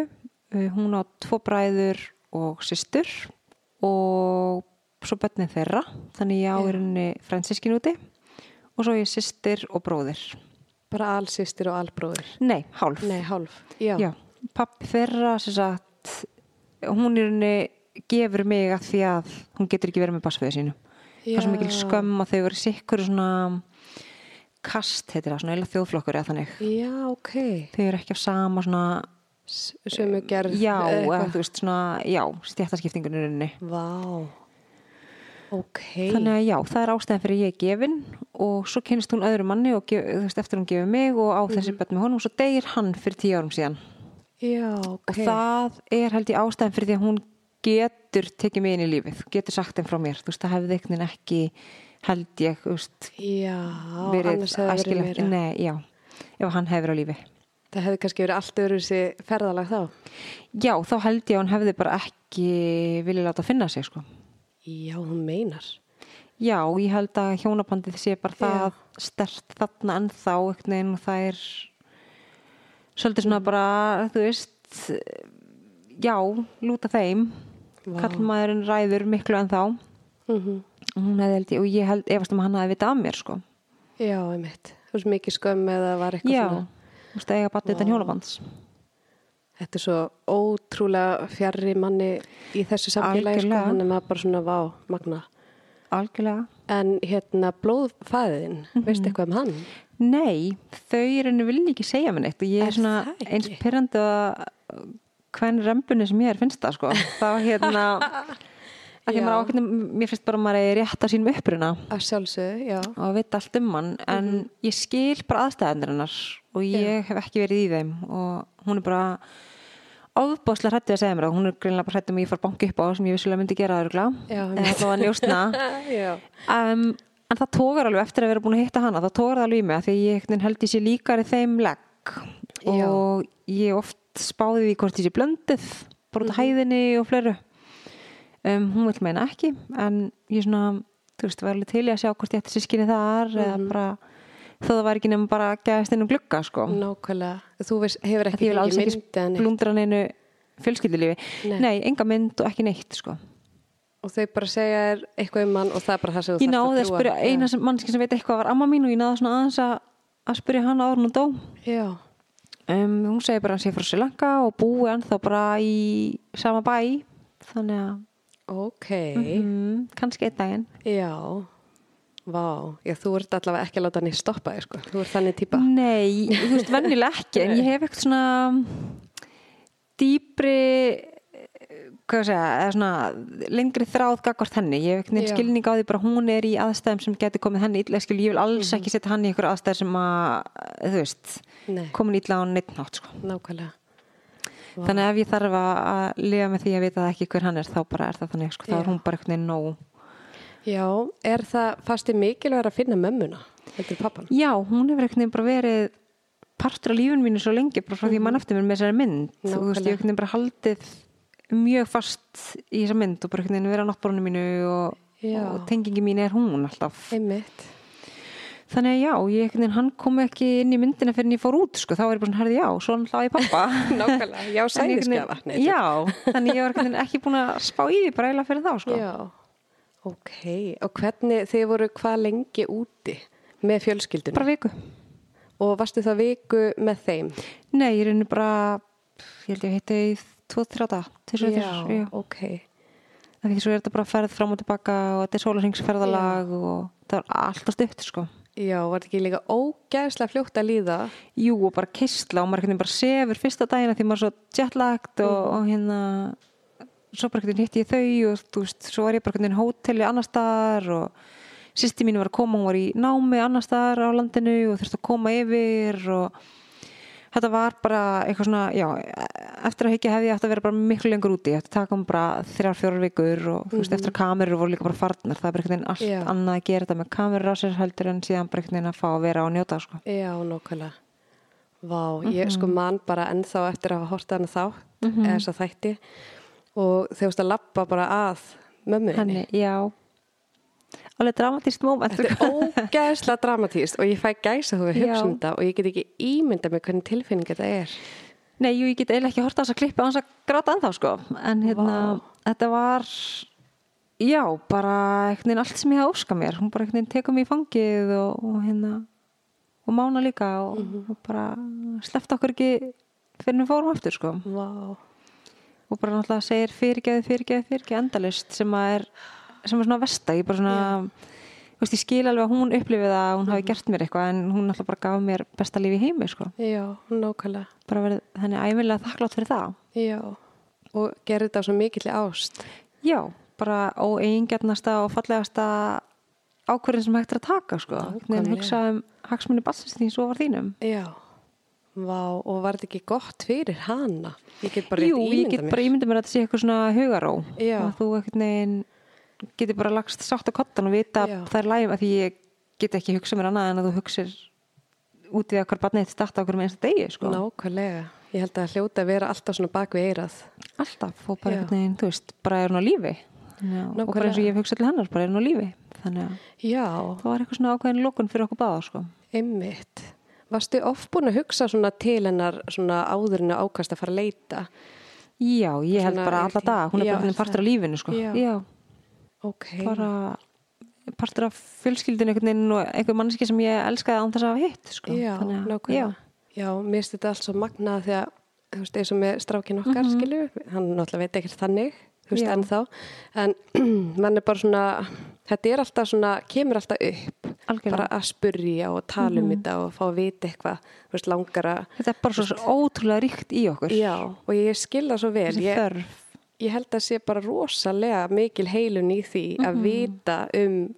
B: uh, hún á tvo bræður og systur og svo börnin þeirra þannig ég á í rauninni fransiskin úti og svo ég sýstir og bróðir
A: Bara allsýstir og allbróður.
B: nei, hálf
A: Nei, hálf. Já.
B: Já, pappi þeirra sem sagt, hún í rauninni gefur mig að því að hún getur ekki verið með basföðu sínu. Það er svo mikil
A: Já.
B: skömm að þau eru sikkur svona kast, heitir það, svona eila þjóðflokkur eða þannig.
A: Já, ok.
B: Þau eru ekki af sama svona,
A: Sumu gerð.
B: já, eh. eða,
A: eitthvað.
B: þú veist, svona, já, stjættaskiptingunni rauninni.
A: Vá. Ok.
B: Þannig að já, það er ástæðan fyrir ég er gefin og svo kynst hún öðru manni og gef, þú veist, eftir hún gefur mig og á þessi
A: Mhm.
B: börn með honum og svo deyr hann fyrir tíu árum síðan.
A: Já, ok.
B: og það er held ég ástæðan fyrir því að hún getur tekið mig inn í lífið getur sagt þeim frá mér, þú veist, það hefði eitthvað ekki held ég, þú veist
A: Já,
B: verið
A: annars hefði verið
B: æskilegt,
A: meira.
B: nei, já ef hann hefur á lífi
A: Það hefði kannski verið allt öðru þessi ferðalag þá.
B: já, þá held ég að hann hefði bara ekki viljað láta finna sig, sko
A: Já, hún meinar.
B: já, ég held að hjónabandið sé bara
A: Já.
B: það stert þarna ennþá einhvern veginn og það er svolítið
A: Mm.
B: svona bara, þú veist já, lúta þeim
A: Vá.
B: kallmaðurinn ræður miklu en þá
A: Mm
B: Og hún hefði held ég, og ég held efast um að hann hefði vitað af mér sko
A: Já, einmitt. Þú veist mikið skömm eða var eitthvað
B: já,
A: svona.
B: þú veist, eiga bara utan hjónabands
A: Þetta er svo ótrúlega fjarrri manni í þessu samfélagi, sko,
B: Algjörlega.
A: hann er maður bara svona vá, magna.
B: algjörlega,
A: En hérna, blóðfæðin,
B: Mhm.
A: veistu eitthvað um hann?
B: nei þau er henni vilja ekki segja mér neitt og ég
A: Er
B: er svona
A: það ekki?
B: eins pyrrandu að hvern rembunni sem ég er finnst það sko þá hérna að því
A: Já.
B: maður á ákveðnum, mér finnst bara að maður er rétt á sínum uppruna
A: Að sjálfsögðu, já. Mhm.
B: og vita allt um hann en ég skil bara aðstæðanir hennar og ég hef ekki verið í þeim og hún er bara ofbáslega hrættið að segja mér það hún er greinlega bara hrættið um að ég far banki upp á sem ég vissulega myndi gera örgla
A: Já,
B: en
A: einmitt.
B: það var njóstna
A: já.
B: um, en það tógar alveg eftir að vera búin að hitta hana það tógar það alveg í mig af því að ég einhvern veginn held ég sé líkari þeim legg og ég oft spáði því hvort ég sé blöndið bara
A: Mhm.
B: út af hæðinni og fleiru um, hún vil meina ekki en ég svona, þú veist, var alveg til í að sjá hvort ég ætti sískinni þar
A: Mhm.
B: eða bara, þó það var ekki nefn bara að geðast inn um glugga sko
A: Nákvæmlega. Þú veist, hefur
B: Því
A: Mm, ekki
B: ég vil alls
A: fengið
B: ekki
A: myndið hann
B: blúndra neinu fjölskyldulífi
A: Nei.
B: nei. enga mynd og ekki neitt sko
A: og þau bara segja þér eitthvað um hann og það er bara það sem þú
B: ég
A: þarft
B: náði að
A: trúa.
B: spyrja
A: Já.
B: eina sem, mannski sem veit eitthvað var amma mín og ég náði svona aðeins að, að spyrja hann áður en hún dó um,
A: Já,
B: hún segi bara að hann sé frá Sri Lanka og búi hann þá bara í sama bæ þannig að
A: ok,
B: mm, kannski einn daginn
A: já, vá, já, þú ert allavega ekki að láta hann í stoppa þig, sko, þú ert þannig típa.
B: Nei, þú veist, venjulega ekki en ég hef eitthvað svona dýpri eh, hvað að segja, eða svona lengri þráð gagvart henni, ég hef eitthvað
A: Já.
B: nefn skilning á því bara hún er í aðstæðum sem getur komið henni illa, skil, ég vil alls
A: Mhm.
B: ekki setja hann í einhver aðstæð sem að, þú veist
A: Nei.
B: komin illa á neitt nátt, sko
A: Nákvæmlega, Vá.
B: þannig að ef ég þarf að- að lifa með því að vita það ekki hver hann er, þá bara er það þannig, sko, þá
A: Já.
B: er hún bara eitthvað nóg
A: já, er það fasti mikilvægur að finna mömmuna, heldur pappan?
B: Já, hún hefur einhvern veginn bara verið partur af lífun mínu svo lengi bara frá því ég
A: Mhm.
B: mann eftir mér með þessari mynd og þú veist, ég hef einhvern veginn bara haldið mjög fast í þessa mynd og bara einhvern veginn verið á náttbórunum mínu og,
A: Já.
B: og tengingi mín er hún alltaf
A: Einmitt,
B: þannig að já, ég einhvern veginn, hann kom ekki inn í myndina fyrir en ég fór út, sko, þá var ég bara svona herði já, svo hann hláði pappa
A: nákvæmlega, já,
B: En einhvern veginn-
A: sæðiskefa.
B: Já, þannig ég var einhvern veginn ekki búin að spá í því bara eiginlega fyrir þá, sko
A: Já, ok, og hvernig, þið voru hvað lengi úti með fjölskyldunum
B: bara viku
A: og varstu það viku með þeim?
B: Nei, ég er einu bara, ég held ég heiti í tvo, þrjá dag, tvisvar, þrisvar, já.
A: ok,
B: Það fyrir svo er þetta bara ferð fram og tilbaka og þetta er sólarhengsferðalag og það var alltaf stutt sko.
A: já, var þetta ekki líka ógæðslega fljótt að líða?
B: Jú og bara kistla og maður einhvern veginn bara sefur fyrsta dagina því maður er svo jetlagt og, og hérna svo bara einhvern veginn hitti ég þau og þú veist, svo var ég bara einhvern veginn á hóteli annars staðar og sýsti mín var að koma, hún var í námi annars staðar á landinu og þurfti að koma yfir og þetta var bara eitthvað svona, já, eftir að higgja hefði ég átt að vera bara miklu lengur úti, ég átti að taka um bara þrjár, fjórar vikur og þú veist, eftir að kamerur voru líka bara farnar, það er bara einhvern veginn allt
A: Já.
B: annað að gera þetta með kamerur á sér heldur en síðan bara einhvern veginn að fá að vera og njóta, sko.
A: Já, nákvæmlega. Vá, ég
B: Mhm.
A: sko man bara ennþá eftir að hafa hortið hann þá, eða þess að þætti, og þau veist að lappa bara að mömmuðinni.
B: henni, já alveg dramatíst moment sko.
A: Þetta er ógæðslega dramatíst og ég fæ gæsa þú við
B: Já.
A: hugsa um þetta og ég get ekki ímyndað með hvernig tilfinning þetta er.
B: nei, jú, ég get eiginlega ekki horta þess að klippa hans að gráta ennþá sko en hérna, þetta var já, bara einhvern veginn allt sem ég hafði óskað mér hún bara einhvern veginn tekur mig í fangið og, og hérna og mána líka og,
A: Mhm.
B: og bara sleppta okkur ekki fyrir við fórum aftur sko
A: Vá.
B: og bara náttúrulega segir fyrirgeði, fyrirgeði, fyrirgeði endalist sem að er, sem er svona vesta ég bara svona, þú veist, ég skil alveg að hún upplifið að hún hafi gert mér eitthvað en hún náttúrulega bara gaf mér besta lífi heimi sko.
A: Já, nákvæmlega.
B: bara verið henni æmilega þakklátt fyrir það
A: Já. Og gerði þetta á svo mikill ást.
B: já, bara óeingjarnasta og fallegasta ákvörðin sem hægt er að taka sko. en
A: Nákvæmlega.
B: hugsa um hagsmunni balsins þín svo var þínum
A: Já. Vá, og var þetta ekki gott fyrir hana? Ég get bara rétt
B: Jú,
A: ímynda mér.
B: ég get bara ímynda mér að þetta sé eitthvað svona hugaró
A: Já.
B: að þú einhvern veginn getur bara lagst sátt á kottan og vita
A: Já.
B: að það er lægum að því ég get ekki hugsað mér annað en að þú hugsir út við að hver barnið þetta starta okkur með einsta degi sko.
A: Nákvæmlega. Ég held að það hljóta að vera alltaf svona bak við eirað.
B: alltaf og bara
A: Já.
B: einhvern veginn, þú veist, bara er hún á lífi Já, og bara eins og ég hef hugsað til hennar, bara er hún á lífi þannig að
A: Já,
B: það var eitthvað svona ákveðin lókun fyrir okkur báða sko.
A: einmitt. Varstu oft búin að hugsa svona til hennar svona áðurinn að ákast að fara að leita?
B: Já, ég held
A: Svona
B: bara
A: er
B: alla
A: því-
B: dag, hún er
A: Já,
B: bara
A: er
B: einhvern veginn partur
A: það?
B: af lífinu sko.
A: Já.
B: Já.
A: Ok.
B: bara partur af fjölskyldinu einhvern veginn og einhver mannski sem ég elskaði án þess að hafa hitt sko.
A: Já,
B: Þannig að-
A: nákvæmlega. Já, mér finnst þetta allt svo magnað því að, þú veist, eins og með strákin okkar, mm hann náttúrulega veit ekkert þannig, þú veist,
B: Mhm. Já.
A: ennþá, en mann er bara svona, þetta er alltaf svona, kemur alltaf upp,
B: Algjörlega. Mhm.
A: bara að spurja og tala um þetta og fá að vita eitthvað, þú veist, langar að,
B: þetta er bara svo, svo ótrúlega ríkt í okkur
A: já, og ég skil það svo vel,
B: þessi
A: ég,
B: þörf
A: ég held að sé bara rosalega mikil heilun í því
B: Mhm.
A: að vita um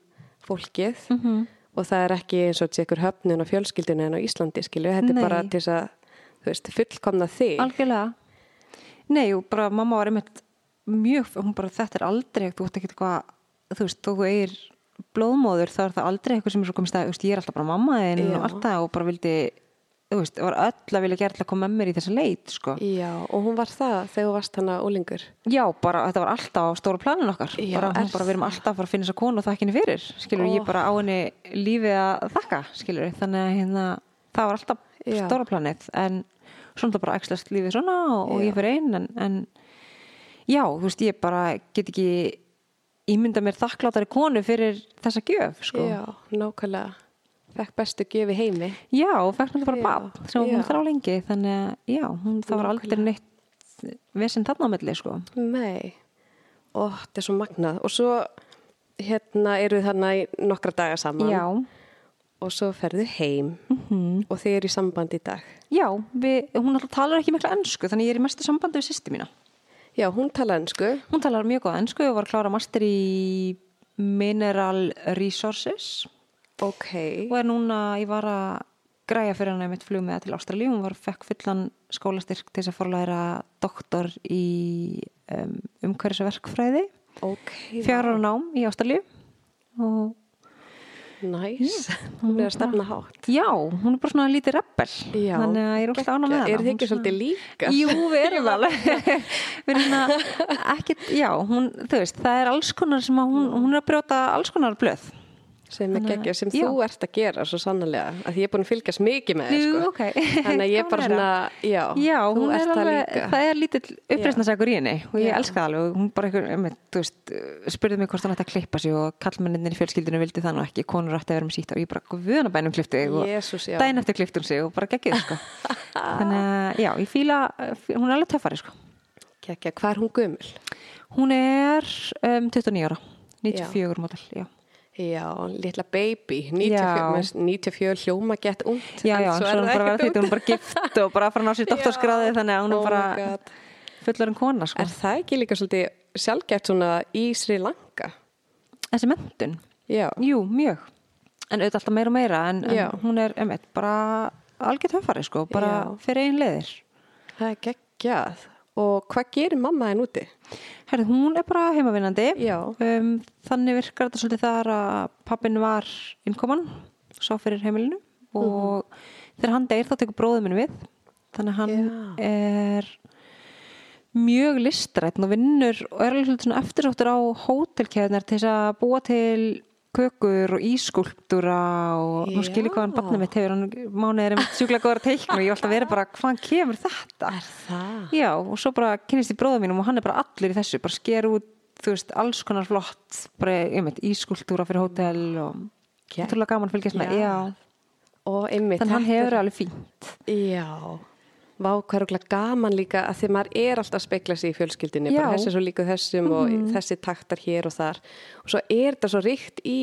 A: fólkið og það er ekki eins og tjekur höfnun og fjölskyldinu en á Íslandi skilju, þetta
B: Nei.
A: er bara til þess að þú veist, fullkomna þig
B: algjörlega nei, og bara mamma var einmitt mjög, hún bara þetta er aldrei þú veist ekki eitthvað, þú veist, þú eigir blóðmóður, þá er það aldrei eitthvað sem er svo komist að, þú veist, ég er alltaf bara mamma þinn
A: Já.
B: og allt það og bara vildi þú veist, var öll að vilja gera alltaf að koma með mér í þessa leit, sko.
A: Já, og hún var það þegar þú varst hana ólingur
B: Já, bara þetta var alltaf á stóra planin okkar
A: Já,
B: bara, hún
A: er
B: bara við erum alltaf að fara að finna þessa konu og þakka henni fyrir skilur,
A: Ó.
B: ég bara á henni lífið að þakka skilur, þannig að hérna, það var alltaf
A: Já.
B: stóra planið en svona það bara æxlast lífið svona og, og
A: Já.
B: ég fyrir einn en, en já, þú veist, ég bara get ekki ímynda mér þakklátari konu fyrir þessa gjöf, sko
A: Já, nákvæmlega Fekk bestu gefi heimi
B: Já, og fekk náttúrulega bara
A: Já.
B: bad sem hún
A: Já.
B: þrá lengi, þannig að já, hún, það var aldrei neitt vesinn þarna á milli, sko
A: Nei Ó, þetta er svo magnað Og svo hérna eru þarna í nokkra daga saman
B: Já, Mhm.
A: og svo ferðu heim -hmm. og þið eru í sambandi í dag
B: Já, við, hún alltaf talar ekki mikla ennsku þannig ég er í mestu sambandi við sýsti mína.
A: Já, hún tala ennsku
B: Hún talar mjög góða ennsku og var að klára master í Mineral Resources
A: Ok,
B: og er núna, ég var að græja fyrir hana mitt flug með það til Ástralíu. Hún var fekk fullan skólastyrk til þess að forlæra doktor í um, umhverfisverkfræði.
A: ok
B: Fjara ára nám í Ástralíu og
A: Næs, hún er að stefna hátt
B: já, hún er bara svona lítið reppel.
A: Já,
B: þannig að ég er óslega ánað með
A: geggjað.
B: hana.
A: Eruð þið
B: Hún
A: ekki
B: svona-
A: svolítið líka?
B: Jú, við erum alveg Við erum að ekki, já, hún, þú veist, það er alls konar sem að hún, hún er að brjóta alls konar blöð
A: sem er
B: Þannig að-
A: geggjað, sem
B: já.
A: þú ert að gera svo sannlega, að ég er búin að fylgjast mikið með þér,
B: Jú,
A: sko.
B: ok.
A: þannig að ég er bara
B: Gaman
A: svona,
B: að
A: já,
B: Já,
A: þú
B: hún er
A: ert það
B: alveg,
A: líka
B: það er lítill uppreisnasakur í henni og ég
A: Já.
B: elska það alveg, hún bara einhver, einmitt, þú veist, spurði mig hvort hann ætti að klippa sig og kallmenninir í fjölskyldinu vildi það nú ekki, konur ætti að vera með sítt og ég bara guðanabænum klippti þig og
A: Jesús, já.
B: dæn eftir klippti hún sig og bara geggið, sko Þannig að, já, ég fíla, hún er alveg töffari, sko
A: Kekja, hvað er hún gömul?
B: Hún er um, 29 ára, 94 model, já
A: Já, litla baby, 94,
B: Já.
A: mér- 94 hljóma gett ungt.
B: já,
A: en
B: já,
A: svo
B: svo
A: er
B: hún
A: það
B: bara verið
A: ekkert
B: þetta, hún
A: ungt.
B: er bara gift sko. og bara að fara að ná sér doktorsgráði þannig að hún
A: Oh
B: er
A: my
B: bara
A: God.
B: fullur en kona sko.
A: Er það ekki líka svolítið sjálfgætt svona í Sri Lanka?
B: þessi mentun,
A: Já,
B: jú, mjög en auðvitað alltaf meira og meira en,
A: Já.
B: en hún er um bara algjör töffari sko, bara
A: Já.
B: fyrir einn leðir
A: það er geggjað. Og hvað gerir mamma henn úti?
B: Herði, hún er bara heimavinnandi
A: Já.
B: um, þannig virkar þetta svolítið þar að pappin var innkoman sá fyrir heimilinu og
A: Mhm.
B: þegar hann deyr þá tekur bróðum minn við þannig að hann er mjög listrætn og vinnur og er alveg svolítið svona eftirsóttur á hótelkeðnar til þess að búa til kökur og ískúlptúra og nú skil ég hvað hann
A: Já.
B: barnið mitt hefur hann mánuð er einmitt sjúklega góður að teikna og ég er alltaf verið bara hvaðan kemur þetta
A: Er það?
B: Já, og svo bara kynist ég bróða mínum og hann er bara allur í þessu, bara sker út þú veist, alls konar flott bara, ég veit, ískultúra fyrir hótel og
A: Gegn.
B: ótrúlega gaman að fylgjast með
A: Já.
B: já.
A: og einmitt
B: þannig hann
A: þetta
B: hefur alveg fínt
A: Já, vá, hvað er okkur gaman líka að því maður er alltaf að spekla sig í fjölskyldinni,
B: Já. Mm-hmm.
A: bara þessi er svo líka þessum og þessi taktar hér og þar og svo er þetta svo ríkt í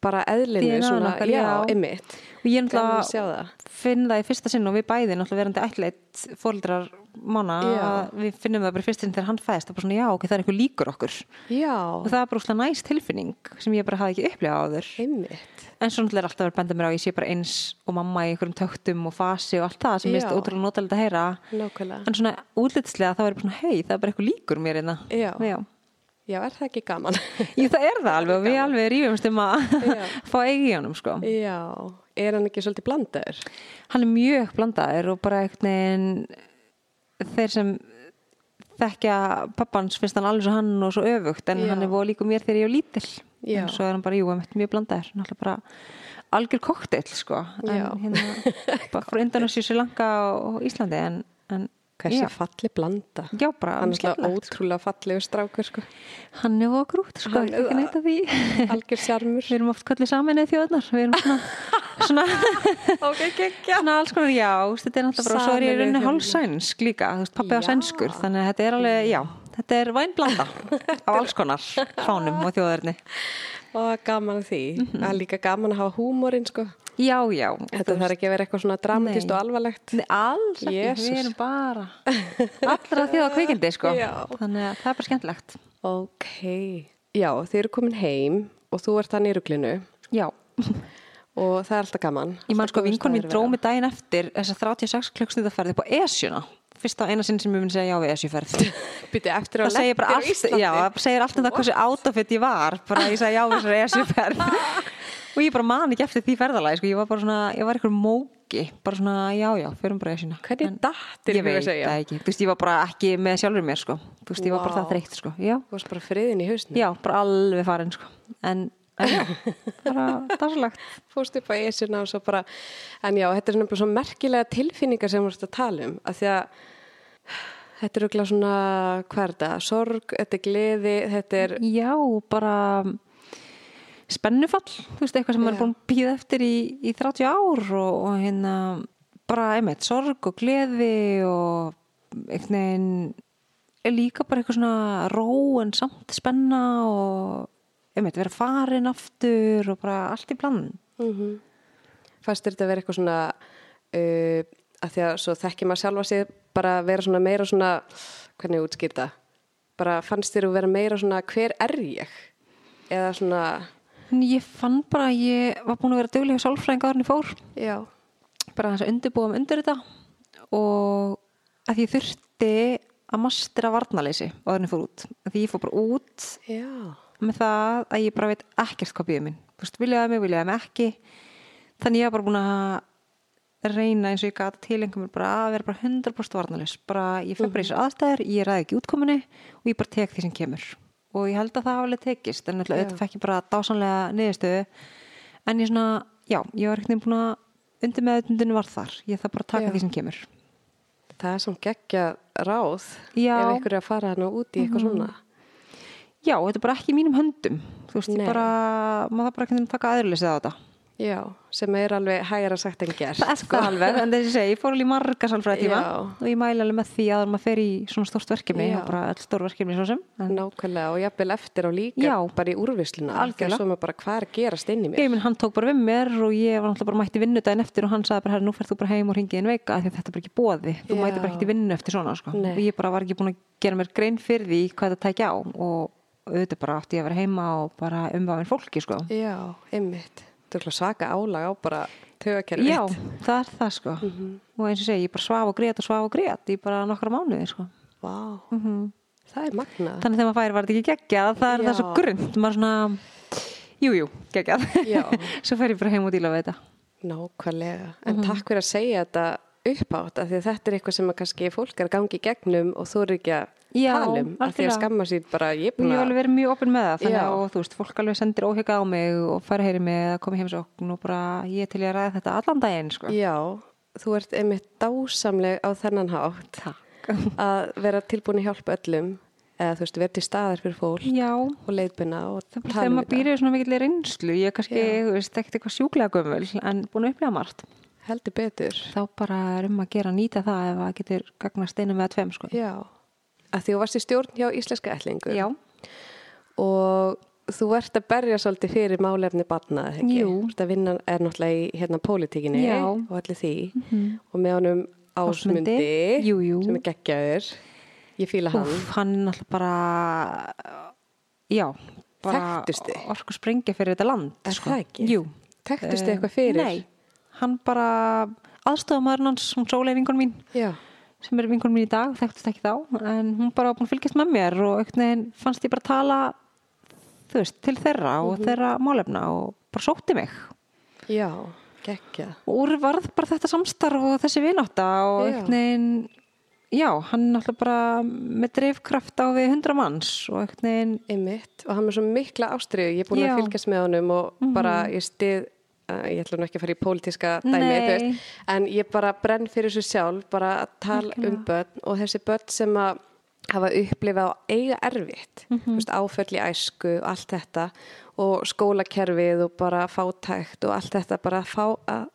A: bara eðlinu,
B: DNA okkar,
A: já,
B: já.
A: einmitt
B: og ég
A: Gaman að sjá
B: náttúrulega
A: það.
B: finn það í fyrsta sinn og við bæði náttúrulega verandi ætleitt fóldrar mána
A: Já.
B: að við finnum það bara í fyrsta sinn þegar hann fæðist það er bara svona já ok, það er einhver líkur okkur
A: Já,
B: og það er bara úrslega næst tilfinning sem ég bara hafði ekki upplegað áður
A: einmitt
B: en svo náttúrulega er alltaf verið að benda mér á að ég sé bara eins og mamma í einhverjum töktum og fasi og allt það sem
A: Já.
B: er ótrúlega notalegt að heyra
A: Nákvæmlega.
B: en svona útlitslega þá er ég bara svona hei, það er bara eitthvað líkur mér einna
A: Já. Já, er það ekki gaman?
B: Jú, það er það alveg og við alveg rífumst um að
A: Já.
B: fá eigi í honum sko.
A: já, er hann ekki svolítið blandaður?
B: Hann er mjög blandaður og bara einhvern veginn þeir sem þekkja pappans finnst hann alveg svo hann og svo öfugt en
A: Já.
B: hann er voða líku mér þegar ég er lítil
A: Já.
B: en svo er hann bara, jú, einmitt mjög blandaður náttúrulega bara algjör koktel sko. en
A: Já.
B: hérna bara frá undan og sér sér langa og Íslandi en, en
A: Hversi
B: já,
A: falli blanda?
B: já, bara
A: hann er það
B: skemmtilegt.
A: ótrúlega fallegu strákur, sko.
B: hann er voða grút sko,
A: Hann
B: ég
A: er
B: ætla ekki
A: það.
B: neitt að því
A: Algjör sjarmur.
B: Við erum oft kallið samin eða þjóðnar Við erum svona, svona,
A: ok, gekkja.
B: svona alls konar já þú veist, Þetta er náttúrulega bara, svo er ég í
A: Sameinuðu
B: rauninni
A: þjóðirnar.
B: hálsænsk líka þú veist, Pappi á
A: Já.
B: sænskur, þannig að þetta er alveg, já Þetta er vænblanda á alls konar fánum og þjóðarni
A: Og gaman að því.
B: Mhm.
A: Það er líka gaman að hafa húmórin, sko.
B: Já, já
A: Þetta þarf ekki að vera eitthvað svona dramatist
B: Nei.
A: og alvarlegt.
B: Nei, Alls ekki,
A: Jesus.
B: við erum bara allra þjóða kveikindi sko
A: Já.
B: Þannig að það er bara skemmtilegt
A: Ok. Já, þið eru komin heim og þú ert þannig í ruglinu
B: Já,
A: og það er alltaf gaman.
B: ég man sko
A: Alltaf góður
B: vinkon
A: staður
B: mín
A: að vera.
B: drómi daginn eftir þess 36 klukkstunda ferði upp á Esjuna Fyrst á eina sinn sem ég mun segja já við Esjuferð
A: Býttu eftir að
B: það segir bara
A: lentir á
B: allt,
A: Íslandi.
B: já, það segir allt um það hversu átafitt ég var, bara ég sagði já þessari esjuferð og ég bara man ekki eftir því ferðalagi, sko, ég var bara svona ég var einhver móki, bara svona já já förum bara esjuna,
A: Hvernig dattir
B: ég veit það ekki, þú veist ég var bara ekki með sjálfur mér sko, þú veist ég var bara
A: Vá.
B: það þreytt sko, já,
A: Þú varst bara friðin í hausnum.
B: já, bara alveg farin sko, en, en já bara darslegt,
A: fórst upp á esina og svo bara en já, þetta er svona bara svo merkilega tilfinningar sem við erum að tala um af því að þetta er auðvitað svona hvað er þetta, sorg, þetta er gleði þetta er,
B: já, bara spennufall þú veist, eitthvað sem
A: Já.
B: maður er búin að býða eftir í, í 30 ár og, og hérna bara einmitt sorg og gleði og einhvern veginn er líka bara eitthvað svona ró en samt spenna og einmitt vera farin aftur og bara allt í bland
A: fannst þér þetta að vera eitthvað svona uh, að því að svo þekki maður sjálfa sig bara að vera svona meira svona hvernig útskýrta, bara fannst þér að vera meira svona hver er ég eða svona,
B: En ég fann bara að ég var búin að vera duglega sálfræðing áður en ég fór
A: já
B: bara þess að undirbúum undir þetta og að ég þurfti að mastra varnaleysi og þannig fór út. Að því ég fór bara út
A: já,
B: með það að ég bara veit ekkert hvað býður minn. Þú veist, viljaði mig, viljaði mig ekki. Þannig ég var bara búin að reyna eins og ég gat tilengum mér bara að vera bara 100% varnalys. Bara ég fer
A: Mhm.
B: bara í þessar aðstæður, ég ræði ekki útkominni og ég bara tek því sem kemur. Og ég held að það hafi alveg tekist, en alltaf auðvitað fekk ég bara dásanlega niðurstöðu. En ég svona, já, ég var ekkert búin að undir meðutundinu var þar. Ég þarf bara að taka
A: Já.
B: því sem kemur.
A: það er svona geggja ráð
B: Já.
A: ef
B: Mhm.
A: einhver er að fara hann út í eitthvað svona
B: Já, þetta er bara ekki í mínum höndum. Þú veist,
A: Nei.
B: ég bara, maður þarf bara ekki að taka aðurleysið á þetta.
A: Já, sem er alveg hægara sagt en gert.
B: Það er það alveg, en þess að segja, ég fór alveg í marga salfræði tíma
A: Sko. Já.
B: og ég mæla alveg með því að maður fer í svona stórt verkefni,
A: Já.
B: og bara all stór verkefni svo sem. En
A: Nákvæmlega og jafnvel eftir á líka
B: Já.
A: bara í úrvisluna.
B: Algjörlega.
A: Svo er maður bara hvað er að gerast inn í mér.
B: ég minn, hann tók bara við mér og ég var náttúrulega bara mætti vinnu daginn eftir og hann sagði bara, herra, nú ferð þú bara heim og ringið inn veika af því að þetta er bara ekki bóði. Þú
A: Já.
B: mæti bara ekki vinnu eftir svona, sko.
A: Nei.
B: Og ég bara var ekki búin að gera mér grein fyrir því hvað þetta tækja á og auðvitað bara átti ég að vera heima og bara umvafin fólki, sko.
A: Já, einmitt. Þetta er örugglega svaka álag á bara tögakerfið.
B: Já, það er það, sko.
A: Mhm.
B: Og eins og ég segi, ég bara svaf og grét og svaf og grét í bara nokkra mánuði, sko.
A: Vá,
B: Mhm.
A: það er magnað.
B: þannig þegar maður færi var þetta ekki geggjað það er það svo
A: Já.
B: grunnt, maður svona jújú, jú, geggjað
A: Já.
B: svo fer ég bara heim og díla við þetta
A: Nákvæmlega. En
B: Mhm.
A: takk fyrir að segja þetta upp á þetta því að þetta er eitthvað sem að kannski fólk er að gangi í gegnum og þú eru ekki að
B: Já,
A: tala um. af Því að
B: algjörlega.
A: skamma sín bara, ég er
B: og
A: búin
B: ég hef
A: að,
B: alveg verið mjög opinn með það þannig
A: Já.
B: að og þú veist, fólk alveg sendir óhygga á mig og fara heyri mig eða koma í heimsókn og bara ég er til ég að ræða þetta allan daginn sko.
A: já, þú ert einmitt dásamleg á þennan hátt.
B: takk
A: að vera tilbúin að hjálpa öllum eða þú veist, verið til staðar fyrir fólk
B: Já,
A: og leiðbuna og um
B: það er bara Mm. þegar maður býrið svona mikill reynslu, ég er kannski,
A: Já.
B: þú veist, ekkert eitthvað sjúklega gömul, en búin að upplega margt.
A: heldur betur
B: Þá bara er um að gera að nýta það ef það getur gagnast einu með tveim, sko.
A: Já, að því þú varst í stjórn hjá Íslenska ætlingu
B: Já,
A: og þú ert að berja svolítið fyrir málefni barna, eða ekki?
B: Jú.
A: Þetta vinnan er náttúrulega í hérna pólitíkinni
B: Já. Mhm.
A: og allir því og með honum
B: Ásmundi.
A: Ásmundi,
B: Jú, jú.
A: sem er geggjaður, ég fíla hann.
B: Úf, hann er náttúrulega bara, já, bara
A: Þekktust þið?
B: orku sprengja fyrir þetta land.
A: Er
B: sko.
A: það ekki?
B: Jú.
A: Þekktust þið
B: Eh,
A: eitthvað fyrir?
B: Nei, hann bara aðstofamæðurinn hans, hún sólega vingun mín,
A: Já,
B: sem er vingun mín í dag, þekktust ekki þá, en hún bara var búin að fylgjast með mér og einhvern veginn fannst ég bara tala, þú veist, til þeirra
A: Mhm.
B: og þeirra málefna og bara sótti mig.
A: já, geggjað.
B: Og úr varð bara þetta samstarf og þessi vinátta og
A: Já.
B: einhvern veginn, já, hann er náttúrulega bara með drifkraft á við hundra manns og einhvern veginn,
A: Einmitt, og hann er svo mikla ástriðu, ég er búin
B: Já. Mhm.
A: að fylgjast með honum og bara ég stið, uh, ég ætla nú ekki að fara í pólitíska dæmi,
B: Nei.
A: þú veist, en ég bara brenn fyrir þessu sjálf, bara að tala um börn og þessi börn sem að hafa upplifað og eiga erfitt,
B: Mhm.
A: þú veist, áföll í æsku og allt þetta og skólakerfið og bara fátækt og allt þetta bara að fá að,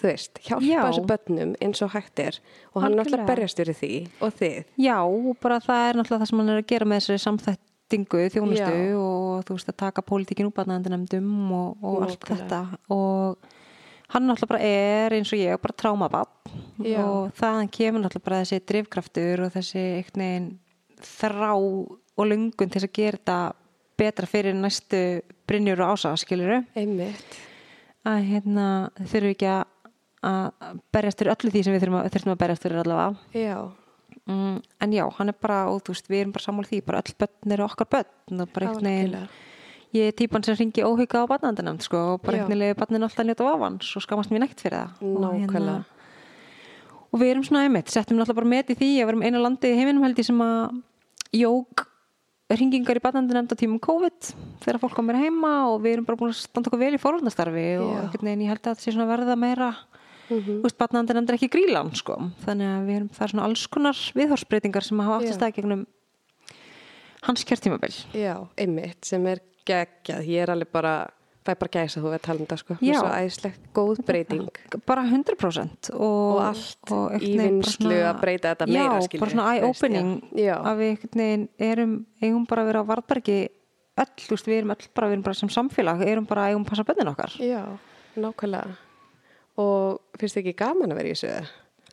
A: þú veist, hjálpa
B: Já.
A: þessu börnum eins og hægt er og hann er náttúrulega
B: Algjörlega.
A: berjast fyrir því og þið.
B: já, og bara það er náttúrulega það sem hann er að gera með þessari samþættingu, þjónustu
A: Já.
B: og þú veist að taka pólitíkin útbarnæðendanefndum og, og allt
A: Nákvæmlega.
B: þetta og hann náttúrulega bara er eins og ég, bara trámabapp
A: Já.
B: og þaðan kemur náttúrulega bara þessi drifkraftur og þessi einhvern veginn þrá og lungun til þess að gera þetta betra fyrir næstu Brynjur og Ása, skiluru
A: Einmitt.
B: að hérna þurfum ekki að- að berjast fyrir öllu því sem við þurfum að, þurfum að berjast fyrir allavega
A: Já,
B: Mm, en já, hann er bara, og þú veist, við erum bara sammála því, bara öll börn eru okkar börn og bara einhvern
A: Algjörlega.
B: veginn, ég er típan sem ringi óhuga á barnandanefnd, sko, og bara
A: Já.
B: einhvern veginn lefi barnin alltaf njóta af hann, svo skamast mér neitt fyrir það. Og hérna-
A: Nákvæmlega.
B: og við erum svona einmitt, settum náttúrulega bara met í því, að við erum eina landið í heiminum held ég sem að jók ringingar í barnandanefnd á tímum COVID, þegar fólk komir heima og við erum bara búin að standa okkur vel í forvöldastarfi og
A: Já.
B: einhvern veginn, ég held að þetta sé svona að verða meira
A: Mhm.
B: mm -hmm. úst, er ekki grílan sko. þannig að við erum, það er svona alls konar viðhorsbreytingar sem
A: Já.
B: hafa áttist að gegnum hans kjörtímabil
A: Já, einmitt, sem er geggjað. Ég er alveg bara, það er bara gæsa þú að tala um það, sko. Hún er
B: Já.
A: Svo æðislega góð breyting.
B: bara 100% og,
A: Og allt
B: og einhvern
A: í
B: veginn bara
A: vinnslu
B: svona-
A: að breyta þetta meira,
B: já,
A: skilurðu,
B: bara svona
A: þú veist,
B: eye-opening
A: já. Já.
B: að við einhvern veginn erum eigum bara að vera á varðbergi öll, þú veist, við erum öll bara, við erum bara sem samfélag erum bara eigum að passa bönnin okkar
A: Já, nákvæmlega. Og finnst þið ekki gaman að vera í þessu? eða?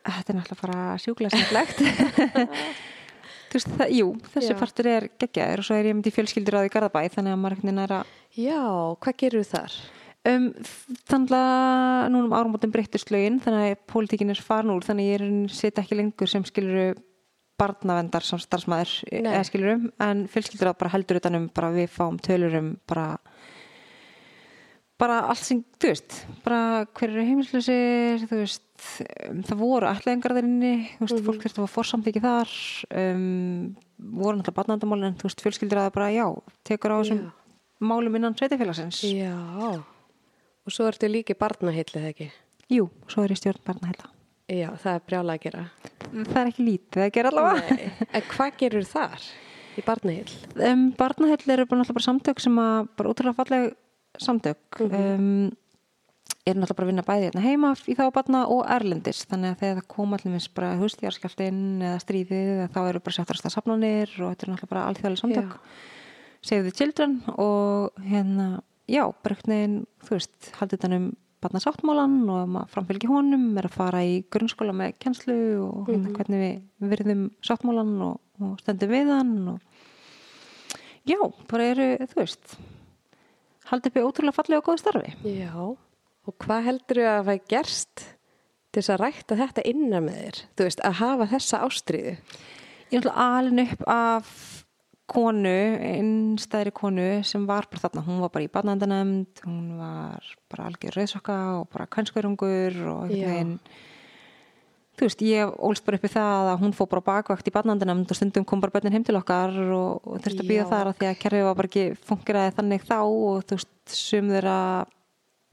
B: Þetta er náttúrulega bara sjúklega sætlegt. Þú veist, það, jú, þessi
A: Já.
B: partur er geggjaður og svo er ég myndi fjölskyldur á því Garðabæ þannig að maður ekkert næra
A: Já, hvað gerur þar?
B: um, þannig að núna um árumótum breyttust lögin þannig að pólitíkin er farin úr þannig að ég er sitt ekki lengur sem skiluru barnavendar sem starfsmæður
A: Nei.
B: eða skilurum en fjölskyldur bara heldur utanum bara við fáum tölurum bara bara allt sem, þú veist bara hver eru heimilslausir þú veist, um, það voru ætlaðingar þar inni, þú veist,
A: Mhm.
B: fólk þurfti að fá forsamþyggi þar um, voru náttúrulega barnavendamál en þú veist, fjölskyldur að bara já, tekur á þessum
A: Já.
B: málum innan sveitafélagsins
A: Já. Og svo ertu líki barnahillið, ekki?
B: Jú, svo er ég stjórn barnahella.
A: Já, það er brjála að gera.
B: Mm, Það er ekki lítið að gera allavega.
A: en hvað gerur þar í barnahill?
B: Um, barnahella eru bara náttúrulega bara samtök sem að bara útrúlega falleg samtök. um, er náttúrulega bara að vinna bæði hérna heima í þá barna og erlendis. Þannig að þegar það kom allir minns bara hustjarskjaldinn eða stríðið eða þá eru bara settarasta safnanir og þetta eru náttúrulega bara alþjóðlega samtök.
A: Já.
B: Save the Children og hérna, já, bara einhvern veginn, þú veist, haldið þannig um barnasáttmálan og um að maður framfylgi honum er að fara í grunnskóla með kennslu og hérna hvernig við virðum sáttmálan og, og stöndum við hann og já, bara eru, þú veist haldið upp í ótrúlega fallega og góðu starfi
A: Já. Og hvað heldur að það er gerst til þess að rækta þetta innan með þér? Þú veist, að hafa þessa ástriðu.
B: Ég er náttúrulega alin upp af konu, einnstæðri konu sem var bara þarna, hún var bara í barnaendanemnd, hún var bara algjör rauðsokka og bara kvenskverungur og einhvern
A: Já.
B: veginn þú veist, ég ólst bara upp í það að hún fór bara á bakvakt í barnaendanemnd og stundum kom bara börnin heim til okkar og, og þurfti að býða
A: Já.
B: þar að því að kerfið var bara ekki fungeraði þannig þá og þú veist, sum þeirra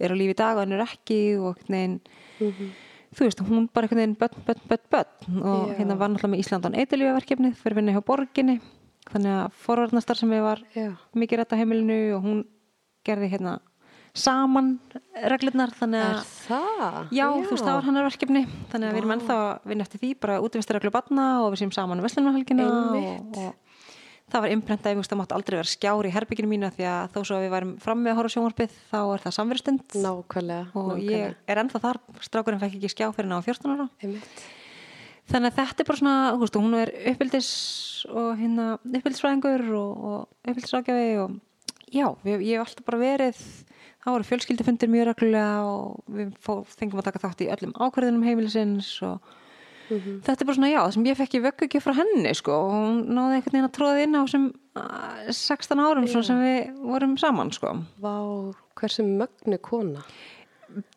B: eru á lífi í dag og hann er ekki og einhvern veginn
A: Mhm.
B: þú veist, hún bara einhvern veginn börn, börn, börn, börn og
A: Já.
B: hérna var náttúrulega með Ísland án eitilífaverkefnið fyrir vinna hjá borginni þannig að forvarnastar sem við var
A: Já.
B: mikið rætt á heimilinu og hún gerði hérna saman reglirnar þannig
A: Er
B: að
A: það?
B: Já, þú veist, það var hennar verkefni þannig að við erum ennþá að vinna eftir því bara útivistarreglu batna og við séum saman um veslunumhelgina
A: Einmitt.
B: og, og það var imprentað, ég veist, það mátt aldrei vera skjár í herbygginu mínu af því að þó svo að við værum frammi að horfa á sjónvarpið þá er það samverðstund
A: Nákvæmlega.
B: og
A: nákvæmlega.
B: ég er ennþá þar, strákurinn fekk ekki skjá fyrir ná 14 ára
A: Einmitt.
B: þannig að þetta er bara svona, þú veist, og hún er uppbyldis og hérna uppbyldisfræðingur og, og uppbyldisrákjafi og já, við, ég hef alltaf bara verið þá voru fjölskyldufundir mjög reglulega og við fó, fengum að taka þátt í öllum ákvörðunum heimilisins og þetta er bara svona, já, það sem ég fekk í vöggu ekki frá henni, sko, og hún náði einhvern veginn að tróða inn á sem 16 árum svona, sem við vorum saman, sko
A: Vá, hversu mögnu kona.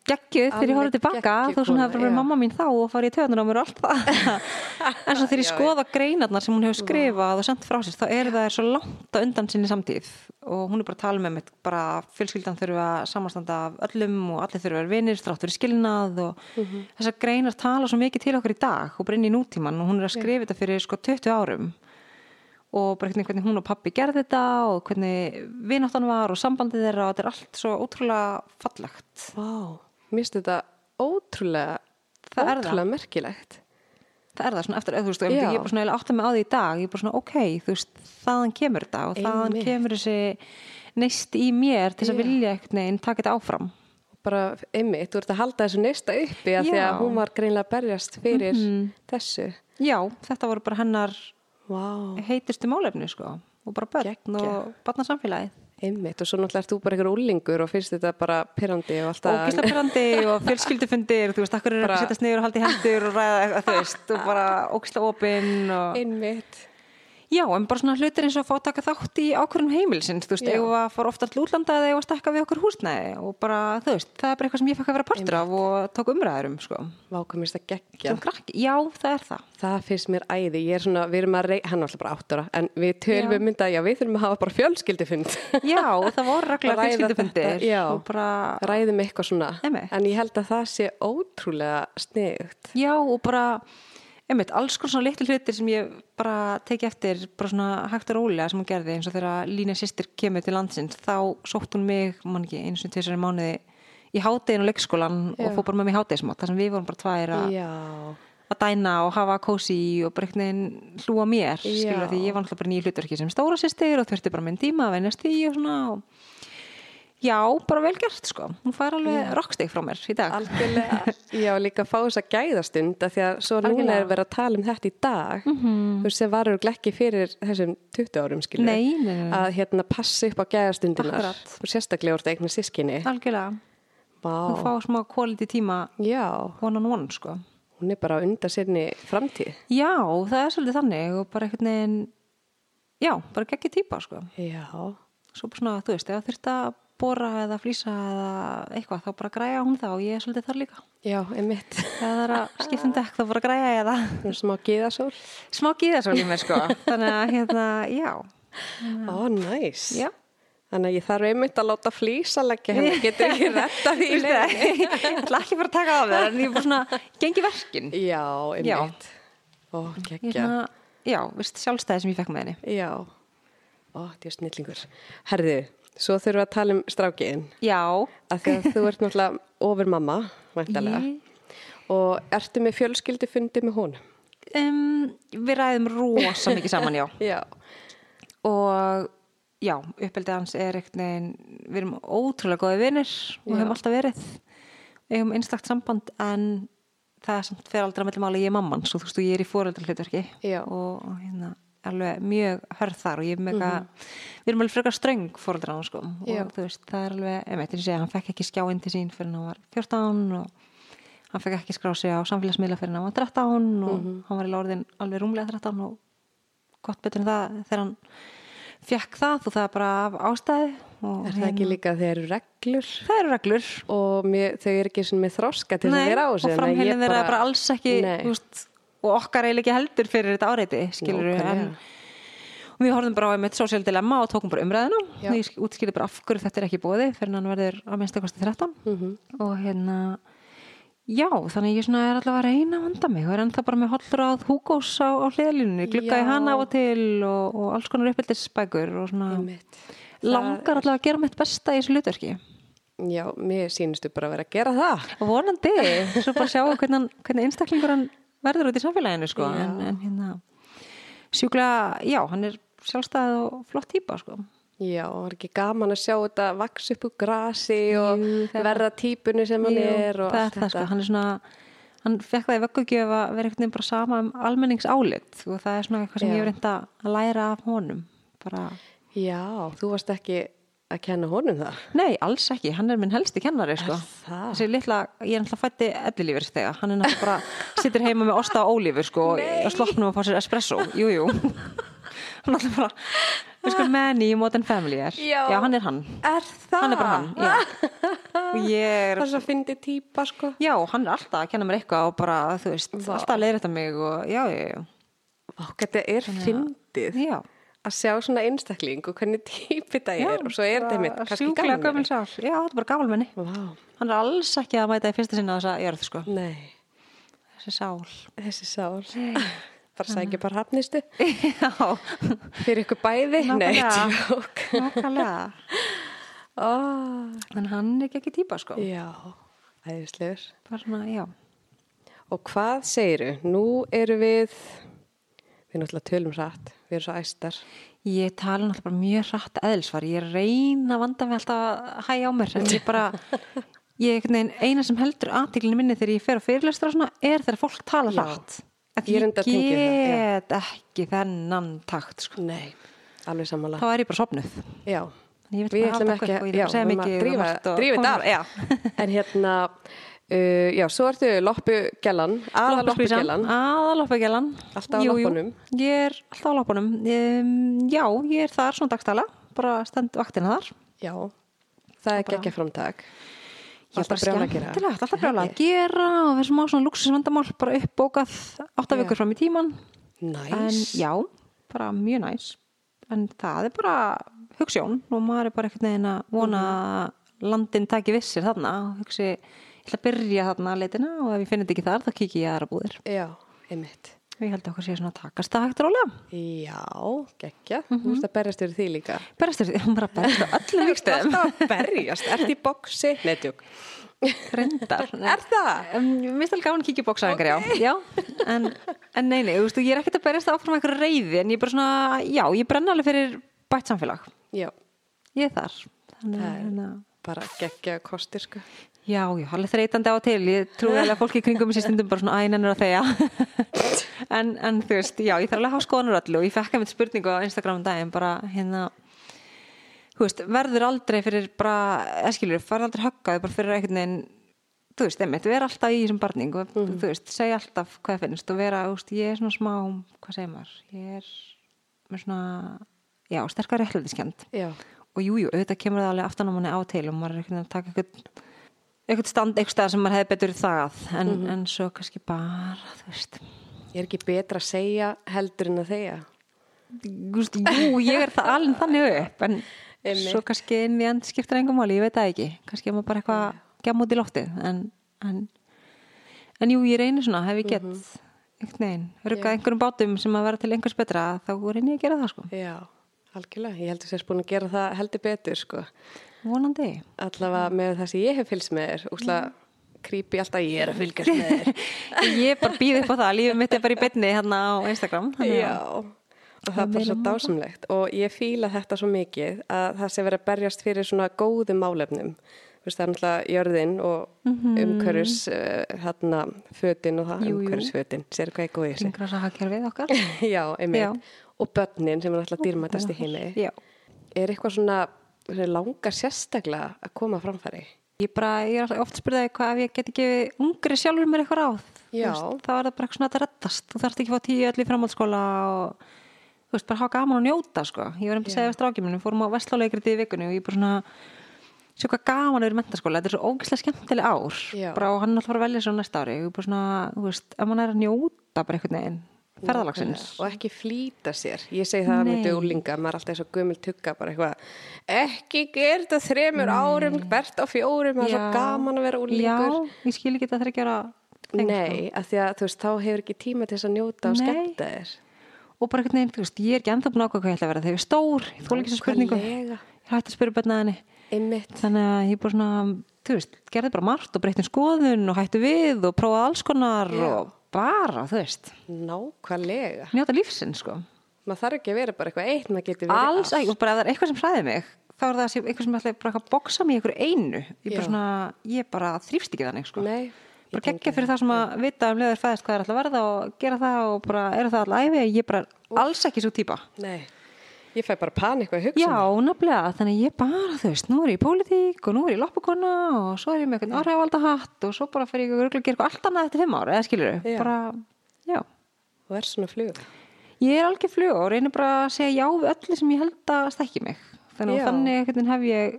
B: geggjuð þegar ég horfði
A: Alveg
B: tilbaka
A: geggjuð
B: þó svona
A: kona,
B: hefur verið
A: já.
B: mamma mín þá og farið í töðunar á mér og allt það en svo þegar ég skoða greinarnar sem hún hefur skrifað og sendt frá sér þá er það svo langt á undan sinni samtíð og hún er bara að tala með mitt bara að fjölskyldan þurfa að samanstanda af öllum og allir þurfa að vera vinir, þrátt fyrir skilnað og
A: Mhm.
B: þessar greinar tala svo mikið til okkur í dag og brinni í nútíman og hún er að skrifa þetta fyrir sko 20 árum og bara hvernig, hvernig hún og pappi gerði þetta og hvernig vináttan var og sambandið þeirra og þetta er allt svo ótrúlega fallegt
A: Vá, mér finnst þetta ótrúlega,
B: Það er það.
A: ótrúlega merkilegt.
B: það er það svona eftir, þú veist, og
A: Já.
B: ég er bara svona eiginlega átta mig á því í dag, ég er bara svona ok, þú veist, þaðan kemur þetta og þaðan
A: Einmitt.
B: kemur þessi neist í mér til þess
A: Já.
B: að vilja einhvern veginn taka þetta áfram.
A: Bara einmitt, þú ert að halda þessu neista uppi að því
B: Já.
A: að hún var greinlega að berjast fyrir þessu.
B: Já, þetta voru bara hennar
A: Vá,
B: heitustu málefni, sko, og bara börn
A: Geggjað.
B: og barnasamfélagið.
A: einmitt. Og svo náttúrulega ert þú bara einhver úlingur og finnst þetta bara pyrrandi og alltaf.
B: Ógislabrandi og fjölskyldufundir, þú veist, akkur eru ekki
A: Bara-
B: að setjast niður og halda í hendur og ræða, þú veist, og bara ógisla opinn og...
A: Einmitt.
B: Já, en bara svona hlutir eins og að fá að taka þátt í ákvörðum heimilisins, þú veist,
A: Já.
B: ef að fara ofta til útlanda eða ef að stekka við okkur húsnæði og bara, þú veist, það er bara eitthvað sem ég fekk að vera partur af og tók umræðurum, sko.
A: Vá, hvað mér finnst það geggja.
B: Sem krakki, já, það er það.
A: Það finnst mér æði, ég er svona, við erum að rey, hann er alltaf bara áttara, en við tölum
B: Já.
A: um mynda, já, við þurfum að hafa bara fjölskyldufund.
B: Já, og það voru reglar
A: Ræða þetta,
B: fjölskyldufundir
A: já.
B: og bara,
A: Ræðum eitthvað svona,
B: Einmitt.
A: en ég held að það sé ótrúlega sniðugt.
B: já, og bara, einmitt, alls konar svona litlu hlutir sem ég bara teki eftir, bara svona hægt og rólega sem hún gerði eins og þegar Lína sýstir kemur til landsins, þá sótt hún mig, mann ekki, eins og tvisari mánuði í hátægin og leikskólan
A: Já.
B: og fór bara með mig hátægismat, þar sem við vorum bara tvær að
A: Já,
B: að dæna og hafa kósi og bara einhvern veginn hlúa mér
A: Já.
B: skilur því ég var alltaf bara nýju hlutverki sem stóra sýstir og þurfti bara minn tíma að venjast því og svona og... já, bara vel gert sko hún fær alveg rockstig frá mér í dag
A: algjörlega. já, líka fá þess að gæðastund, af því að svo núna
B: Algjörlega. Mhm.
A: er verið að tala um þetta í dag, þú veist, sem varur glekki fyrir þessum 20 árum, skilur.
B: Nei, nei, nei.
A: Að hérna passi upp á gæðastundunar,
B: Akkurat.
A: og sérstaklega úr þetta eignar sískinni.
B: algjörlega, hún
A: Vá,
B: fá smá quality tíma
A: já,
B: one on one sko
A: hún er bara undan sérni framtíð.
B: já, það er svolítið þannig og bara einhvern veginn já, bara geggi típa sko
A: Já,
B: svo bara svona, þú veist, ef þurft að bóra eða flýsa eða eitthvað þá bara græja hún það og ég er svolítið þar líka
A: já, einmitt.
B: ef það er að skipta um dekk þá bara græja ég það
A: Hún er smá gíðasól.
B: smá gíðasól í mér sko þannig að hérna, já
A: Ó, næs.
B: já
A: Þannig að ég þarf einmitt að láta flýsa leggja henni, getur ekki retta því. í
B: Veistu það? ég ætla ekki bara að taka af þér en ég er bara svona, gengi verkin
A: leiðinni? Já, einmitt. Ó,
B: Ég er
A: geggja.
B: svona, já, veist, sjálfstæði sem ég fekk með henni
A: Já. Ó, þetta er snillingur. Herðu, svo þurfum við að tala um strákiðin.
B: já,
A: Af því að þú ert náttúrulega ofur mamma, væntalega.
B: Ég-
A: Og ertu með fjölskyldufundi með hún?
B: um, við ræðum rosa mikið saman, já
A: Já.
B: og já, uppeldið hans er einhvern veginn, við erum ótrúlega góði vinir og
A: Já.
B: hefum alltaf verið eigum einstakt samband en það er samt fer aldrei að mellum áli ég er mamman svo þú veist og ég er í fóreldra hlutverki
A: Já.
B: og og hérna alveg mjög hörð þar og ég er mega, við erum alveg frekar ströng fóreldra hann sko
A: Mhm. Já.
B: og þú veist það er alveg, em, eitthvað sé, hann fekk ekki skjáinn til sín fyrir hann var 14 og hann fekk ekki skrá sig á samfélagsmiðla fyrir hann var 13 og
A: Mhm.
B: hann var í lóriðin alveg rúmlega 13 og gott betur en það þegar hann fekk það og það er bara af ástæði og
A: Er það
B: hérna-
A: ekki líka þegar eru reglur?
B: það eru reglur
A: og mér, þau eru ekki svona með þroska til þess að vera á
B: og
A: sig. þannig að ég
B: framheilin þeirra bara, bara alls ekki
A: Nei.
B: þú veist, og okkar eiginlega ekki heldur fyrir þetta áreiti skilur við en
A: Nákvæmlega.
B: og við horfum bara á einmitt social dilemma og tókum bara umræðina
A: Já.
B: og ég útskýrði
A: Mhm.
B: bara af hverju þetta er ekki bóði fyrir hann verður að minnsta kosti 13 og hérna Já, þannig ég svona er allavega að reyna að vanda mig og er ennþá bara með hollráð Hugos á, á hliðalínunni, glugga í
A: Já.
B: hana á og til og, og alls konar uppeldisbækur og svona
A: einmitt.
B: langar allavega að gera mitt besta í þessu hlutverki
A: Já, mér sínustu bara að vera að gera það.
B: og vonandi, svo bara sjáum við hvernig, hann- hvernig einstaklingur hann verður út í samfélaginu sko,
A: Já.
B: en, en hérna sjúklega, já, hann er sjálfstæð og flott típa sko.
A: Já, og var ekki gaman að sjá þetta vaks upp úr grasi og
B: Jú, það-
A: verða típunni sem hann er og
B: það er það sko, hann er svona hann fekk það í vöggugjöf að vera einhvern veginn bara sama um almenningsálit og það er svona eitthvað sem
A: Já.
B: ég hef reynda að læra af honum bara,
A: Já, þú varst ekki að kenna honum það.
B: nei, alls ekki hann er minn helsti kennari sko
A: það?
B: þessi litla, ég er náttúrulega fætti ellilífur þegar, hann er náttúrulega bara sittur heima með osta og ólífur sko,
A: Nei.
B: og slokknum að fá sér espresso, jú, jú hann er alltaf bara við sko menni í Modern Family er
A: Já.
B: hann er hann,
A: Er það?
B: hann er bara hann já. og ég er
A: Það er svo fyndið típa, sko.
B: Já, hann er alltaf að kenna mér eitthvað og bara, þú veist,
A: Vá.
B: alltaf að leiðrætta mig og já, já, já.
A: Vá, þetta er fyndið
B: Já,
A: að sjá svona einstakling og hvernig típi það er og svo er þetta mitt kannski
B: Sjúklega
A: gaman.
B: gömul sál. Já, þetta er bara gamal menni.
A: Vá,
B: Hann er alls ekki að mæta í fyrsta sinna þessa jörð, sko.
A: nei,
B: Þessi sál.
A: þessi sál. Bara sækja bara hafnistu
B: já,
A: fyrir ykkur bæði. Nei,
B: Nákvæmlega.
A: tjók.
B: nokkalega.
A: Ó,
B: En hann er ekki ekki típa, sko.
A: já, æðislegur.
B: Bara svona, já.
A: Og hvað segiru? Nú eru við, við náttúrulega tölum rætt, við erum svo æstar.
B: Ég tala náttúrulega bara mjög hratt eðlisvar. Ég reyna að vanda mig alltaf að hæja á mér. En ég bara, ég einhvern veginn, eina sem heldur aðtíklinni minni þegar ég fer á fyrirlestra og svona er þegar fólk tala
A: Já.
B: hratt. Af
A: Ég
B: því
A: reyndar
B: Ég
A: tengi það, já.
B: get ekki þennan takt, sko.
A: Nei, alveg sammála.
B: Þá er ég bara sopnuð.
A: Já,
B: Ég vil
A: við
B: bara
A: ætlum
B: halda
A: ekki
B: göngu, ég vil bara segja
A: við erum að
B: mikið og
A: drífa,
B: margt og
A: drífa
B: koma
A: þetta af,
B: í-
A: já. En hérna, uh, já, svo ertu loppugjallan, aða loppugjallan.
B: Aðaloppagellan.
A: Alltaf á loppunum.
B: Ég er alltaf á loppunum. Um, já, ég er þar svona dagstæla. Bara stend vaktina þar.
A: Já, það er geggja framtak.
B: Já,
A: Alltaf
B: bara
A: brjála að gera.
B: skemmtilegt, alltaf brjála að gera og við erum á svona luxusvandamál bara uppbókað átta
A: Já.
B: vikur fram í tíman en
A: Næs.
B: já, bara mjög næs en það er bara hugssjón og maður er bara einhvern veginn að vona
A: Mhm.
B: að landin taki vissir þarna og hugsi, ég ætla að byrja þarna að leitina og ef ég finn þetta ekki þar þá kiki ég í aðra búðir
A: Já, einmitt.
B: og ég held að okkur sé svona að takast það hægt rólega
A: Já, geggja. Þú veist að berjast yfir því líka.
B: berjast þér, hún bara berjast á öllum vikstöðum
A: Alltaf að berjast, ert í boksi? Nei, tjók.
B: reyndar nei.
A: Er það?
B: Um, mér finnst alveg gaman að kíkja í bóksaðingar, já. já. En, en nei, nei, þú veist, ég er ekkert að berjast áfram með eitthvað reyði, en ég er bara svona, já, ég brenna alveg fyrir bætt samfélag.
A: Já,
B: Ég er þar. Þannig,
A: Það er-
B: þannig að, hérna,
A: bara geggja kostir, sko.
B: já, já, alveg þreytandi á og til. Ég trúi alveg að fólki í kringum sér stundum bara svona, æ, nennur að þeia. en, en þú veist, já, ég þarf alveg að hafa skoðanur allu og ég fekk að mitt spurningu á Instagram um daginn, bara hérna, þú veist, verður aldrei fyrir bara, eskilur, verður aldrei höggaði bara fyrir einhvern veginn þú veist, einmitt, vera alltaf í þessum barning og þú veist, segja alltaf hvað finnst og vera, þú veist, ég er svona smá hvað segir maður, ég er með svona, já, sterkar réttlætiskend
A: Já,
B: og jújú, jú, auðvitað kemur það alveg aftan á manni á til og maður er einhvern veginn að taka einhvern einhvern stand einhvern stað sem maður hefði betur þagað en, en svo kannski bara, þú veist
A: er ekki betra að segja heldur en að þeia?
B: Þú veist, jú, ég er það alveg þannig upp en
A: Einmitt.
B: svo kannski inn í end skiptir engum máli, ég veit það ekki kannski er maður bara eitthvað að gemma út í loftið en, en, en jú, ég reynir svona hef ég gett einhvern veginn, ruggað einhverjum bátum sem að vera til einhvers betra þá reynir ég að gera það sko,
A: Já, algjörlega. Ég heldur sérst búin að gera það heldur betur, sko.
B: vonandi
A: Allavega með það sem ég hef fylgst með þér. Úsla, creepy alltaf ég er að fylgjast með þér.
B: ég bara býð upp á það, lífið mitt er bara í beinni hérna á Instagram þannig að-
A: Já, og það er bara svo dásamlegt og ég fíla þetta svo mikið að það sé verið að berjast fyrir svona góðum málefnum. Þú veist, Það er náttúrulega jörðin og umhverfis uh, hérna fötin og það,
B: Mhm. Jú, jú.
A: umhverfisfötin, sér hvað ég góði þessi.
B: hringrásahakerfið okkar
A: Já, einmitt.
B: Já.
A: Og börnin sem er alltaf dýrmætast í heimi.
B: Já.
A: Er eitthvað svona svona langar sérstaklega að koma á framfæri?
B: Ég, bara, ég er alltaf oft spurðið hvað ef ég geti gefið ungri sjálfur mér eitthvað ráð. Þú
A: Já.
B: Veist, þá er það bara eitthvað svona að þetta reddast. Þú þarfst ekki að fá tíu öll í framhaldsskóla og þú veist, bara hafa gaman að njóta sko. Ég var einnig að segja við strákjum minni, við fórum á vestláleikriti í vikunni og ég bara svona sjá hvað gaman er í mentaskóla. Þetta er svo ógeðslega skemmtileg ár.
A: Já.
B: Bara og hann er alltaf að fara að velja svo næsta ári. Ég bara svona, þú veist, ef maður er að njóta bara einhvern veginn ferðalagsins
A: Og ekki flýta sér. Ég segi það
B: Nei.
A: með djólinga, maður er alltaf eins og gömul tugga, bara eitthvað, ekki gera þetta þremur árum, bert á fjórum, það er svo
B: Já.
A: gaman að vera úlingur.
B: Já, ég skil ekki þetta þryggjara
A: Nei, af því að þú veist, þá hefur ekki tíma til þess að njóta og
B: Nei.
A: skemmta þér.
B: og bara einhvern veginn, þú veist, ég er ekki ennþá búin að ákvæða hvað ég ætla að vera þegar ég er stór, ég þóla ekki þessu spurningu
A: Nákvæmlega.
B: ég hætti að spyrja börnaðinni
A: Einmitt.
B: þannig að ég bara svona, þú veist, gerði bara margt og breytti um skoðun og hætti við og prófaði alls konar
A: Já.
B: og bara, þú veist
A: Nákvæmlega.
B: njóta lífsinn, sko
A: Maður þarf ekki að vera bara eitthvað eitt, maður getur verið
B: alls ekki, og bara ef það er eitthvað sem hræði mig þá er það að sé- eitthvað sem ætlaði bara að boksa mig í einhverju einu ég
A: Já.
B: bara, svona, ég bara þrýfst ekki þannig, sko
A: Nei, ég
B: bara
A: tengi
B: geggja fyrir það sem að vita um leður fæðist hvað er alltaf að verða og gera það og bara eru það alltaf æfi ég bara er alls ekki svo típa
A: Nei, ég fæ bara panik við að hugsa.
B: Já, nefnilega, þannig að ég bara, þú veist, nú er ég í pólitík og nú er ég í loppakona og svo er ég með eitthvað orðhæfaldahatt og svo bara fer ég að örugglega að gera eitthvað allt annað eftir fimm ár, eða skilur
A: Já.
B: bara, já.
A: Og er svona flug.
B: Ég er algjör flug og reynir bara að segja já við öllu sem ég held að stekki mig. Þannig,
A: Já.
B: og þannig einhvern veginn hef ég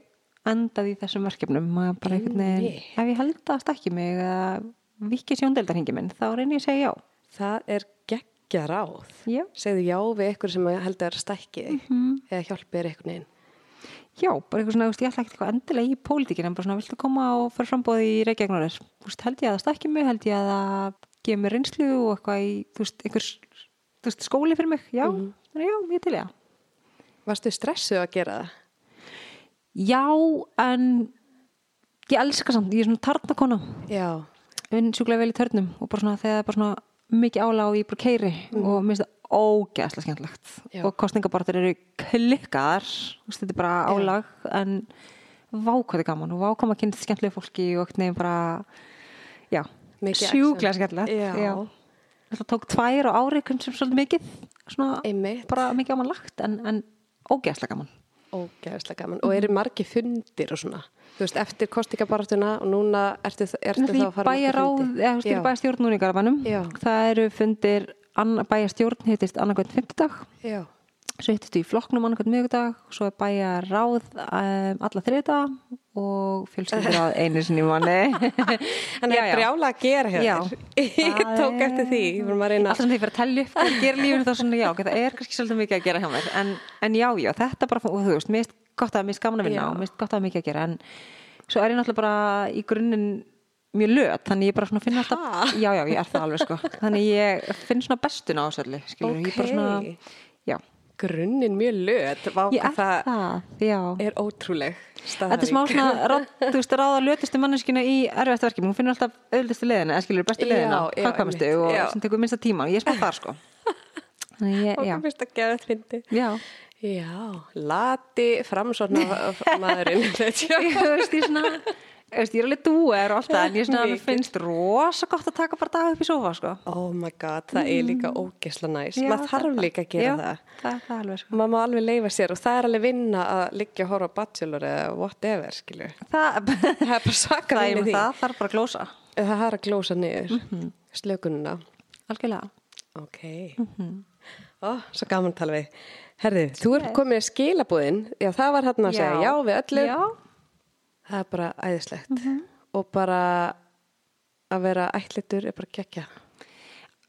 B: endað í þessum verkefnum, maður bara einhvern veginn,
A: Einmitt.
B: ef ég held að stekki mig eða vikið sjóndeildarhingi minn, þá reynir ég að segja já.
A: Það er geggja ráð.
B: Já,
A: Segðu já við ykkur sem heldur að stækki þig
B: Mhm.
A: eða hjálpi þér einhvern veginn.
B: já, bara eitthvað svona, þú veist, ég ætla ekkert eitthvað endilega í pólitíkinu, en bara svona, viltu koma og fara frambóði í Reykjavíknóris? Þú veist, held ég að það stakki mig, held ég að það gefi mér reynslu og eitthvað í, þú veist, einhvers, þú veist, skóli fyrir mig, já, þannig já, ég er til ég að.
A: Varstu stressuð að gera það?
B: Já, en ég elska samt, ég er svona tarnakona,
A: Já,
B: vinn sjúklega vel í törnum og bara svona, þegar það er bara svona mikið álag og ég bara keiri og mér finnst það ógeðslega skemmtlegt
A: Mhm. Já.
B: og kostningabortur eru klikkaðar, þú veist, þetta er bara
A: Já.
B: álag en vá hvað þetta er gaman og vá hvað maður kynst skemmtlegu fólki og eitthvað nefn bara já,
A: Mikið
B: sjúklega
A: action.
B: skemmtlegt
A: Já.
B: þetta tók tvær á ári sem svolítið mikið, svona
A: Einmitt.
B: bara mikið gaman lagt en, en ógeðslega gaman
A: ógæðislega gaman.
B: Mhm.
A: Og eru margi fundir og svona? Þú veist, eftir kostningabaratuna og núna ertu, ertu þá að fara
B: bæja ráð, eða þú
A: bæja...
B: skilur bæjastjórn núna í Garabænum
A: Já.
B: það eru fundir, bæjastjórn hittist annarkvæmt 50 dag
A: Já,
B: svo hittist þú í flokknum annarkvæmt miðugdag svo er bæja ráð um, alla þriðda og fjölskyldur ráð einu sinni í manni
A: en það er brjála að gera
B: Já.
A: hér. Ég
B: Það
A: tók eftir því, ég vorum að reyna
B: Alltaf sem því fyrir að telja upp og gera lífinu þá svona já, ok, það er kannski svolítið mikið að gera hjá mér en, en já, já, þetta bara, og þú veist, mér finnst gott að mér finnst gaman að vinna
A: Já.
B: og mér finnst gott að mikið að gera en svo er ég náttúrulega bara í grunninn mjög löt, þannig ég bara svona finn alltaf
A: Ha?
B: já, já, ég er það alveg sko, þannig ég finn svona bestun á þessu öllu, skilur ég bara
A: Ókei.
B: svona, já,
A: grunnin mjög löt. Vá,
B: ég er
A: hvað það
B: það já,
A: er ótrúleg
B: Þetta er smá
A: staðhæfing.
B: svona, ráð, þú veist, ráða lötustu manneskina í erfiðasta verkefni, hún finnur alltaf auðlustu leiðina, eða skilur bestu
A: Já,
B: leiðina,
A: já,
B: hagkvæmustu
A: einmitt,
B: og
A: já.
B: sem tekur minnsta tíma, ég er smá þar sko. Þannig ég,
A: Okkur
B: já.
A: finnst að gefa þrindi.
B: Já,
A: Já, lati framsóna maðurinn.
B: ég veist, ég svona, ég veist, ég er alveg dúer og allt það, en ég svona, mér
A: Mikið.
B: finnst rosa gott að taka bara dag upp í sofa, sko.
A: oh my god, það er líka ógesla næs.
B: Mm. Já,
A: Maður
B: það-
A: þarf líka að gera
B: já,
A: það.
B: það er það er alveg, sko.
A: Maður má alveg leifa sér og það er alveg vinna að liggja að horfa á Bachelor eða whatever, skilju.
B: Það,
A: Það er bara svaka
B: það,
A: vinna
B: er um
A: í því.
B: það Mhm. þarf bara að glósa.
A: Það er að glósa niður slökununa.
B: Algjörlega.
A: Ok.
B: Mhm.
A: Ó, svo gaman að tala við. Herðið, þú er komin í skilabúðin. Já, það var hann að segja já við öllu.
B: Já, Mhm.
A: Það er bara æðislegt. Og bara að vera ætlitur er bara gekkja.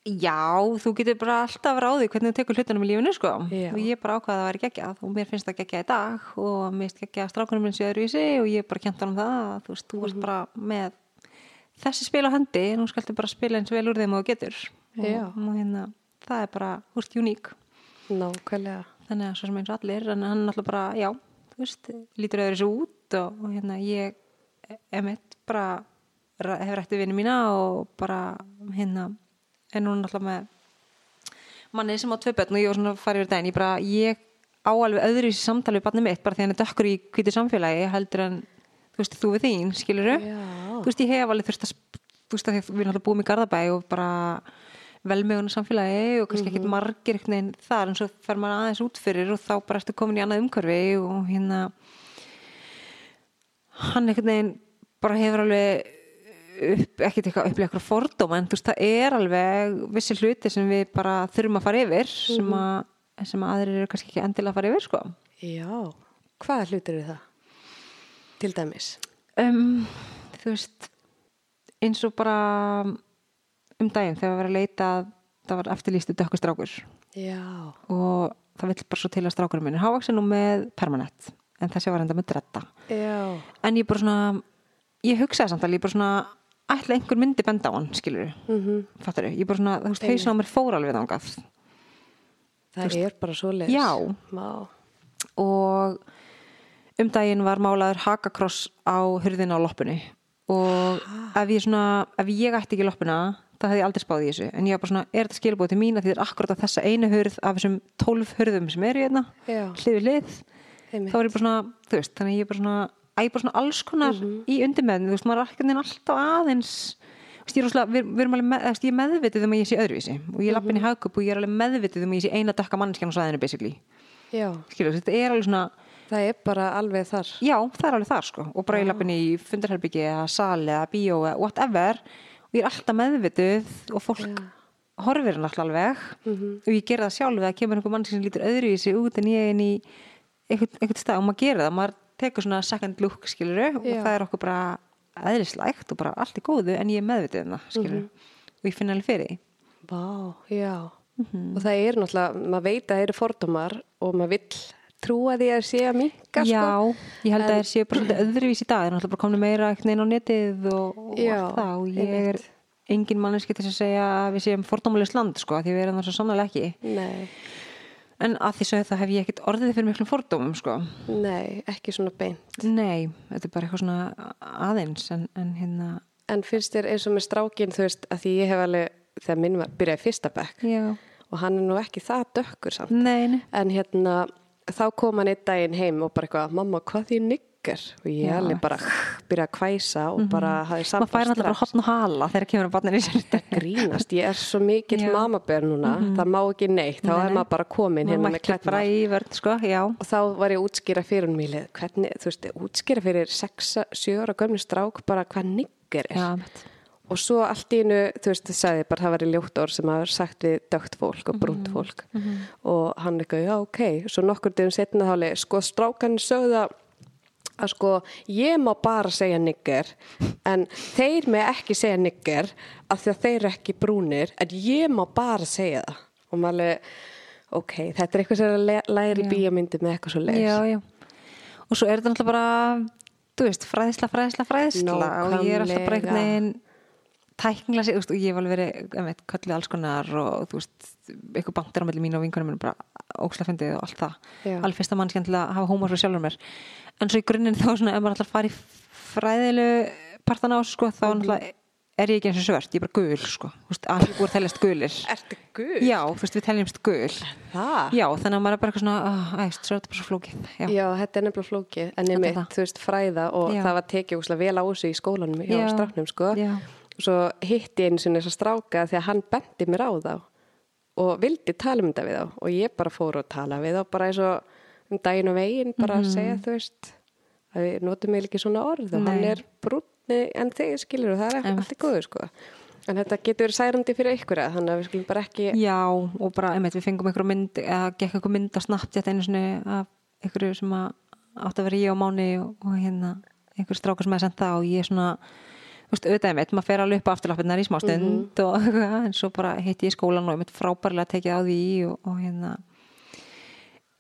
B: já, þú getur bara alltaf ráði hvernig þú tekur hlutunum í lífinu, sko.
A: Já.
B: Og ég bara ákvaða að það væri geggjað og mér finnst það geggjað í dag og mér finnst geggjað að strákunum minn séu öðruvísi og ég bara kjent hann um það, að, þú veist, þú
A: Mhm.
B: ert bara með þessi spil á hendi, nú skaltu bara spila eins vel úr þeim og þú getur. Og-
A: Já.
B: Og hérna, það er bara, þú veist, uník.
A: Nákvæmlega.
B: þannig að svo sem eins og allir en hann náttúrulega bara, já, þú veist lítur öðru svo út og, og hérna ég emitt bara ra- hef rætti vinni mína og bara hérna, en hún náttúrulega með manni sem á tvö börn og ég var svona að fara yfir daginn, ég bara ég á alveg öðru í samtali við barnið mitt bara því hann er dökkur í hvítu samfélagi heldur en þú veist, þú við þín, skilur
A: Já.
B: þú veist, ég hef alveg þurft að sp- þú veist, að því að við náttúrulega búum í Garðabæ og bara velmögunar samfélagi og kannski ekkert margir einhvern veginn þar en svo fer maður aðeins út fyrir og þá bara ertu komin í annað umhverfi og hérna hann einhvern veginn bara hefur alveg upp, ekkert eitthvað upplega eitthvað fordóma en þú veist, það er alveg vissi hluti sem við bara þurfum að fara yfir sem, að, sem að aðrir eru kannski ekki endilega að fara yfir sko.
A: Já, hvaða hlutir eru það? Til dæmis.
B: um, þú veist eins og bara um daginn þegar við varum að leita að það var eftirlýstu dökku strákur
A: Já.
B: og það vill bara svo til að strákurinn minn er hávaksin og með permanent en þessi var enda með dretta
A: Já.
B: en ég bara svona ég hugsaði samt alveg, ég bara svona ætla einhver myndi benda á hann, skilur mm
A: Mhm.
B: -hmm. fattar ég bara svona, þú veist, hausin á mér fór alveg þangað
A: Það er bara svo leis.
B: Já.
A: Má.
B: og um daginn var málaður hakakross á hurðina á loppinu og
A: Ah.
B: ef ég svona, ef ég ætti ekki loppuna það hefði ég aldrei spáð í þessu en ég var bara svona, er þetta skilbúið til mín að því það er akkurat að þessa einu hurð af þessum tólf hurðum sem eru hérna
A: Já.
B: hlið við hlið
A: Einmitt.
B: þá er ég bara svona, þú veist, þannig að ég er bara svona að ég er bara svona alls konar
A: Mhm.
B: í undirmeðinu þú veist, maður er alltaf neginn alltaf aðeins þú veist, ég er rosalega, við, við erum alveg með, þú veist, ég er meðvitið um að ég sé öðruvísi og
A: Mhm.
B: ég lappin í hagkup og ég er alveg meðvitið um að ég sé eina dökka manneskjan á svæðinu basically,
A: Já.
B: skilur, þetta er alveg svona
A: Það er bara alveg þar.
B: já, það er alveg þar sko og bara ég lappin í fundarherbyggi eða sali eða bíó eða whatever og ég er alltaf meðvitið og fólk horfir hann alltaf alveg og ég gera það sjálf eða kemur einhver mann sem lítur öðruvísi út en ég er inn í einhvern, einhvern stað og maður gera það, maður tekur svona second look skiluru og
A: Já.
B: það er okkur bara eðlislægt og bara allt í góðu en ég er meðvitið um það skiluru og ég finn alveg fyrir því
A: Vá, já. Og það er náttúrulega, maður veit að það eru fordómar og maður vill trúa því að sé að minka, sko.
B: Já, ég held að það séu bara svolítið öðruvís í dag, það er náttúrulega bara komin meira einhvern veginn á netið og, og
A: Já,
B: allt það og ég er
A: einmitt.
B: engin manneski til að segja að við séum fordómulegst land sko, af því við erum það svo sannlega ekki
A: Nei,
B: en að því sögðu það hef ég ekkert orðið fyrir miklum fordómum sko
A: nei, ekki svona beint.
B: Nei, þetta er bara eitthvað svona aðeins en, en hérna,
A: En finnst þér eins og með strákin, þú veist, að því ég hef alveg, þegar minn var, byrjaði í fyrsta bekk
B: já
A: og hann er nú ekki það dökkur samt.
B: Nei, nei.
A: En hérna, þá kom hann einn daginn heim og bara eitthvað, mamma, hvað því nigger? Og ég
B: Já. Mhm.
A: alveg bara byrjaði að kvæsa og bara hafði
B: maður
A: samband
B: fær náttúrulega bara hotn og hala þegar kemur að barnir í sér
A: Þetta grínast, ég er svo mikill
B: Já. Mhm.
A: mamabér núna, það má ekki neitt, þá
B: Nei,
A: er
B: nei.
A: maður bara komin
B: Maður
A: hérna með
B: mættur bara
A: klætnar.
B: í vörn sko, já
A: Og þá var ég að útskýra fyrir hún mýlið, hvernig, þú veist, útskýra fyrir 6-7 ára gömni strák bara hvað nigger er.
B: Já, mitt.
A: Og svo allt í einu, þú veist, það sagði bara, það var í ljótt orð sem hafa sagt við dögt fólk og brúnt
B: Mhm.
A: fólk. Og hann eitthvað, já, ok. Svo nokkur dögum setna þáli, sko, strákan sögða að sko, ég má bara segja nigger, en þeir með ekki segja nigger, af því að þeir eru ekki brúnir, en ég má bara segja það. Og maður alveg, ok, þetta er eitthvað sem er að le- læra í bíómyndi með eitthvað svo leir.
B: já, já. og svo er þetta náttúrulega bara þú veist, fræðisla, fræðisla, fræðisla og ég er alltaf bara einhvern
A: Nákvæmlega.
B: veginn tæknilega sig, þú veist, og ég hef alveg verið einmitt, kallið alls konar og þú veist eitthvað bandir á melli mín og vinkunum minn bara óksla fyndið og allt það
A: Já.
B: alveg fyrsta mannskjæn til að hafa hómar fyrir sjálfur mér en svo í grunninn þá svona, ef maður alltaf fari fræðilu partan á þessu, sko,
A: Mhm.
B: þá náttúrulega er ég ekki eins og svört, ég er bara gul sko, þú veist, að híkur teljast gulir
A: Ertu guð?
B: já, þú veist, við teljumst gul
A: Það?
B: já, þannig að maður er bara eitthvað svona "Ah, æst, svo er þetta bara svo flókið já.
A: Já, þetta er nefnilega flókið, en ég
B: Þetta er
A: mitt,
B: það.
A: þú veist, fræða og
B: Já.
A: það var tekið úslega vel á þessu í skólanum hjá
B: Já.
A: stráknum, sko.
B: Já.
A: Svo hitti ég einu sinni þess að stráka þegar hann bendi mér á þá og vildi tala um þetta við þá og ég bara fór að tala við þá bara eins og um daginn og veginn bara
B: Mhm.
A: að segja, þú veist, að við notum eiginlega ekki svona orð og hann
B: Nei.
A: er brúnni en þig skilur og það er ekki allt í góðu, sko. En þetta getur verið særandi fyrir ykkur að þannig að við skulum bara ekki,
B: Já, og bara, einmitt, við fengum einhverju mynd eða gekk einhverju mynd að snabbt þetta einu sinni af einhverju sem að átt að vera ég á mánu og, og hérna einhverju strákur sem hefði sendt það og ég svona þú veist, auðvitað einmitt, maður fer alveg upp afturlappinnar í smá stund
A: Mhm.
B: og eitthvað, en svo bara hitti ég skólan og einmitt frábærlega tekið á því og, og hérna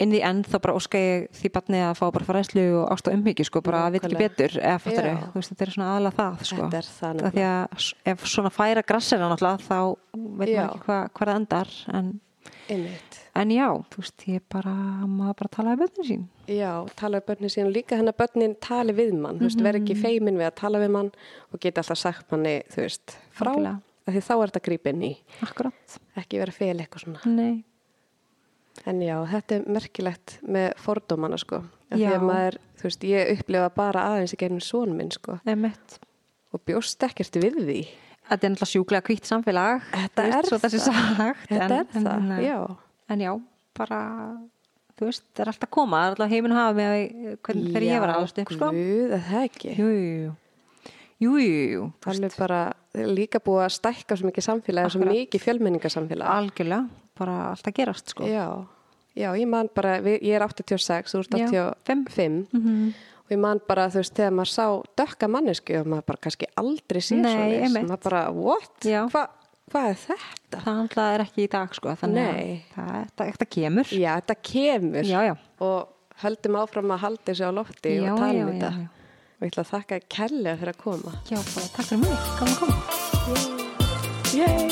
B: inn í end þá bara óska ég því barni að fá bara fræðslu og ást og umhyggju sko, bara að við ekki
A: Nákvæmlega.
B: betur eða fattar
A: Já.
B: þú veist, þetta er svona aðalega það sko.
A: Þetta er það
B: Af því að s- ef svona færa grassina náttúrulega þá veit
A: Já.
B: maður ekki hva, hvað það endar en,
A: einmitt.
B: en já, þú veist, ég bara maður bara talaði bönnum sín
A: Já, tala við börnin sín og líka hennar börnin tali við mann, þú
B: Mhm,
A: veist, verð ekki feimin við að tala við mann og geta alltaf sagt manni, þú veist, frá,
B: Algjörlega.
A: af því þá er þetta grípin í,
B: Akkurat,
A: ekki vera fel eitthvað svona.
B: nei
A: En já, þetta er merkilegt með fordómana, sko, af því
B: Já.
A: að maður, þú veist, ég upplifa bara aðeins í gegnum són minn, sko,
B: Emmett.
A: og bjóst ekkert við því.
B: Þetta er náttúrulega sjúklega kvítt samfélag
A: Þetta
B: þú
A: er
B: svo það sé
A: það.
B: sagt
A: Þetta
B: en,
A: er
B: en,
A: það,
B: hérna,
A: já.
B: En já, bara þú veist, það er alltaf að koma, það er alltaf heiminn hafa með hvernig þegar ég var
A: Já,
B: aðast upp sko.
A: Guð, er það ekki.
B: Jú, jú, jú, jú, jú. þú veist,
A: Alveg bara líka búið að stækka svo mikið samfélagi, svo mikið fjölmenningarsamfélagi.
B: algjörlega, bara allt að gerast sko.
A: Já, já, ég man bara, við, ég er 86, þú ert
B: Já, Mhm.
A: 85 Mhm. og ég man bara, þú veist, þegar maður sá dökka mannesku og maður bara kannski aldrei sér
B: Nei,
A: svo
B: einmitt.
A: maður bara, what?
B: Já.
A: Hva, hvað er þetta?
B: Það handlað er ekki í dag sko, þannig að
A: Nei.
B: það, það, það kemur.
A: Já, þetta kemur
B: Já, já.
A: og höldum áfram að halda þessu á lofti
B: Já,
A: og tala
B: já,
A: um
B: já,
A: þetta.
B: já.
A: Og ég ætla að þakka kellega fyrir að koma.
B: Já, bara takk fyrir mig, gaman að koma.
A: Yay!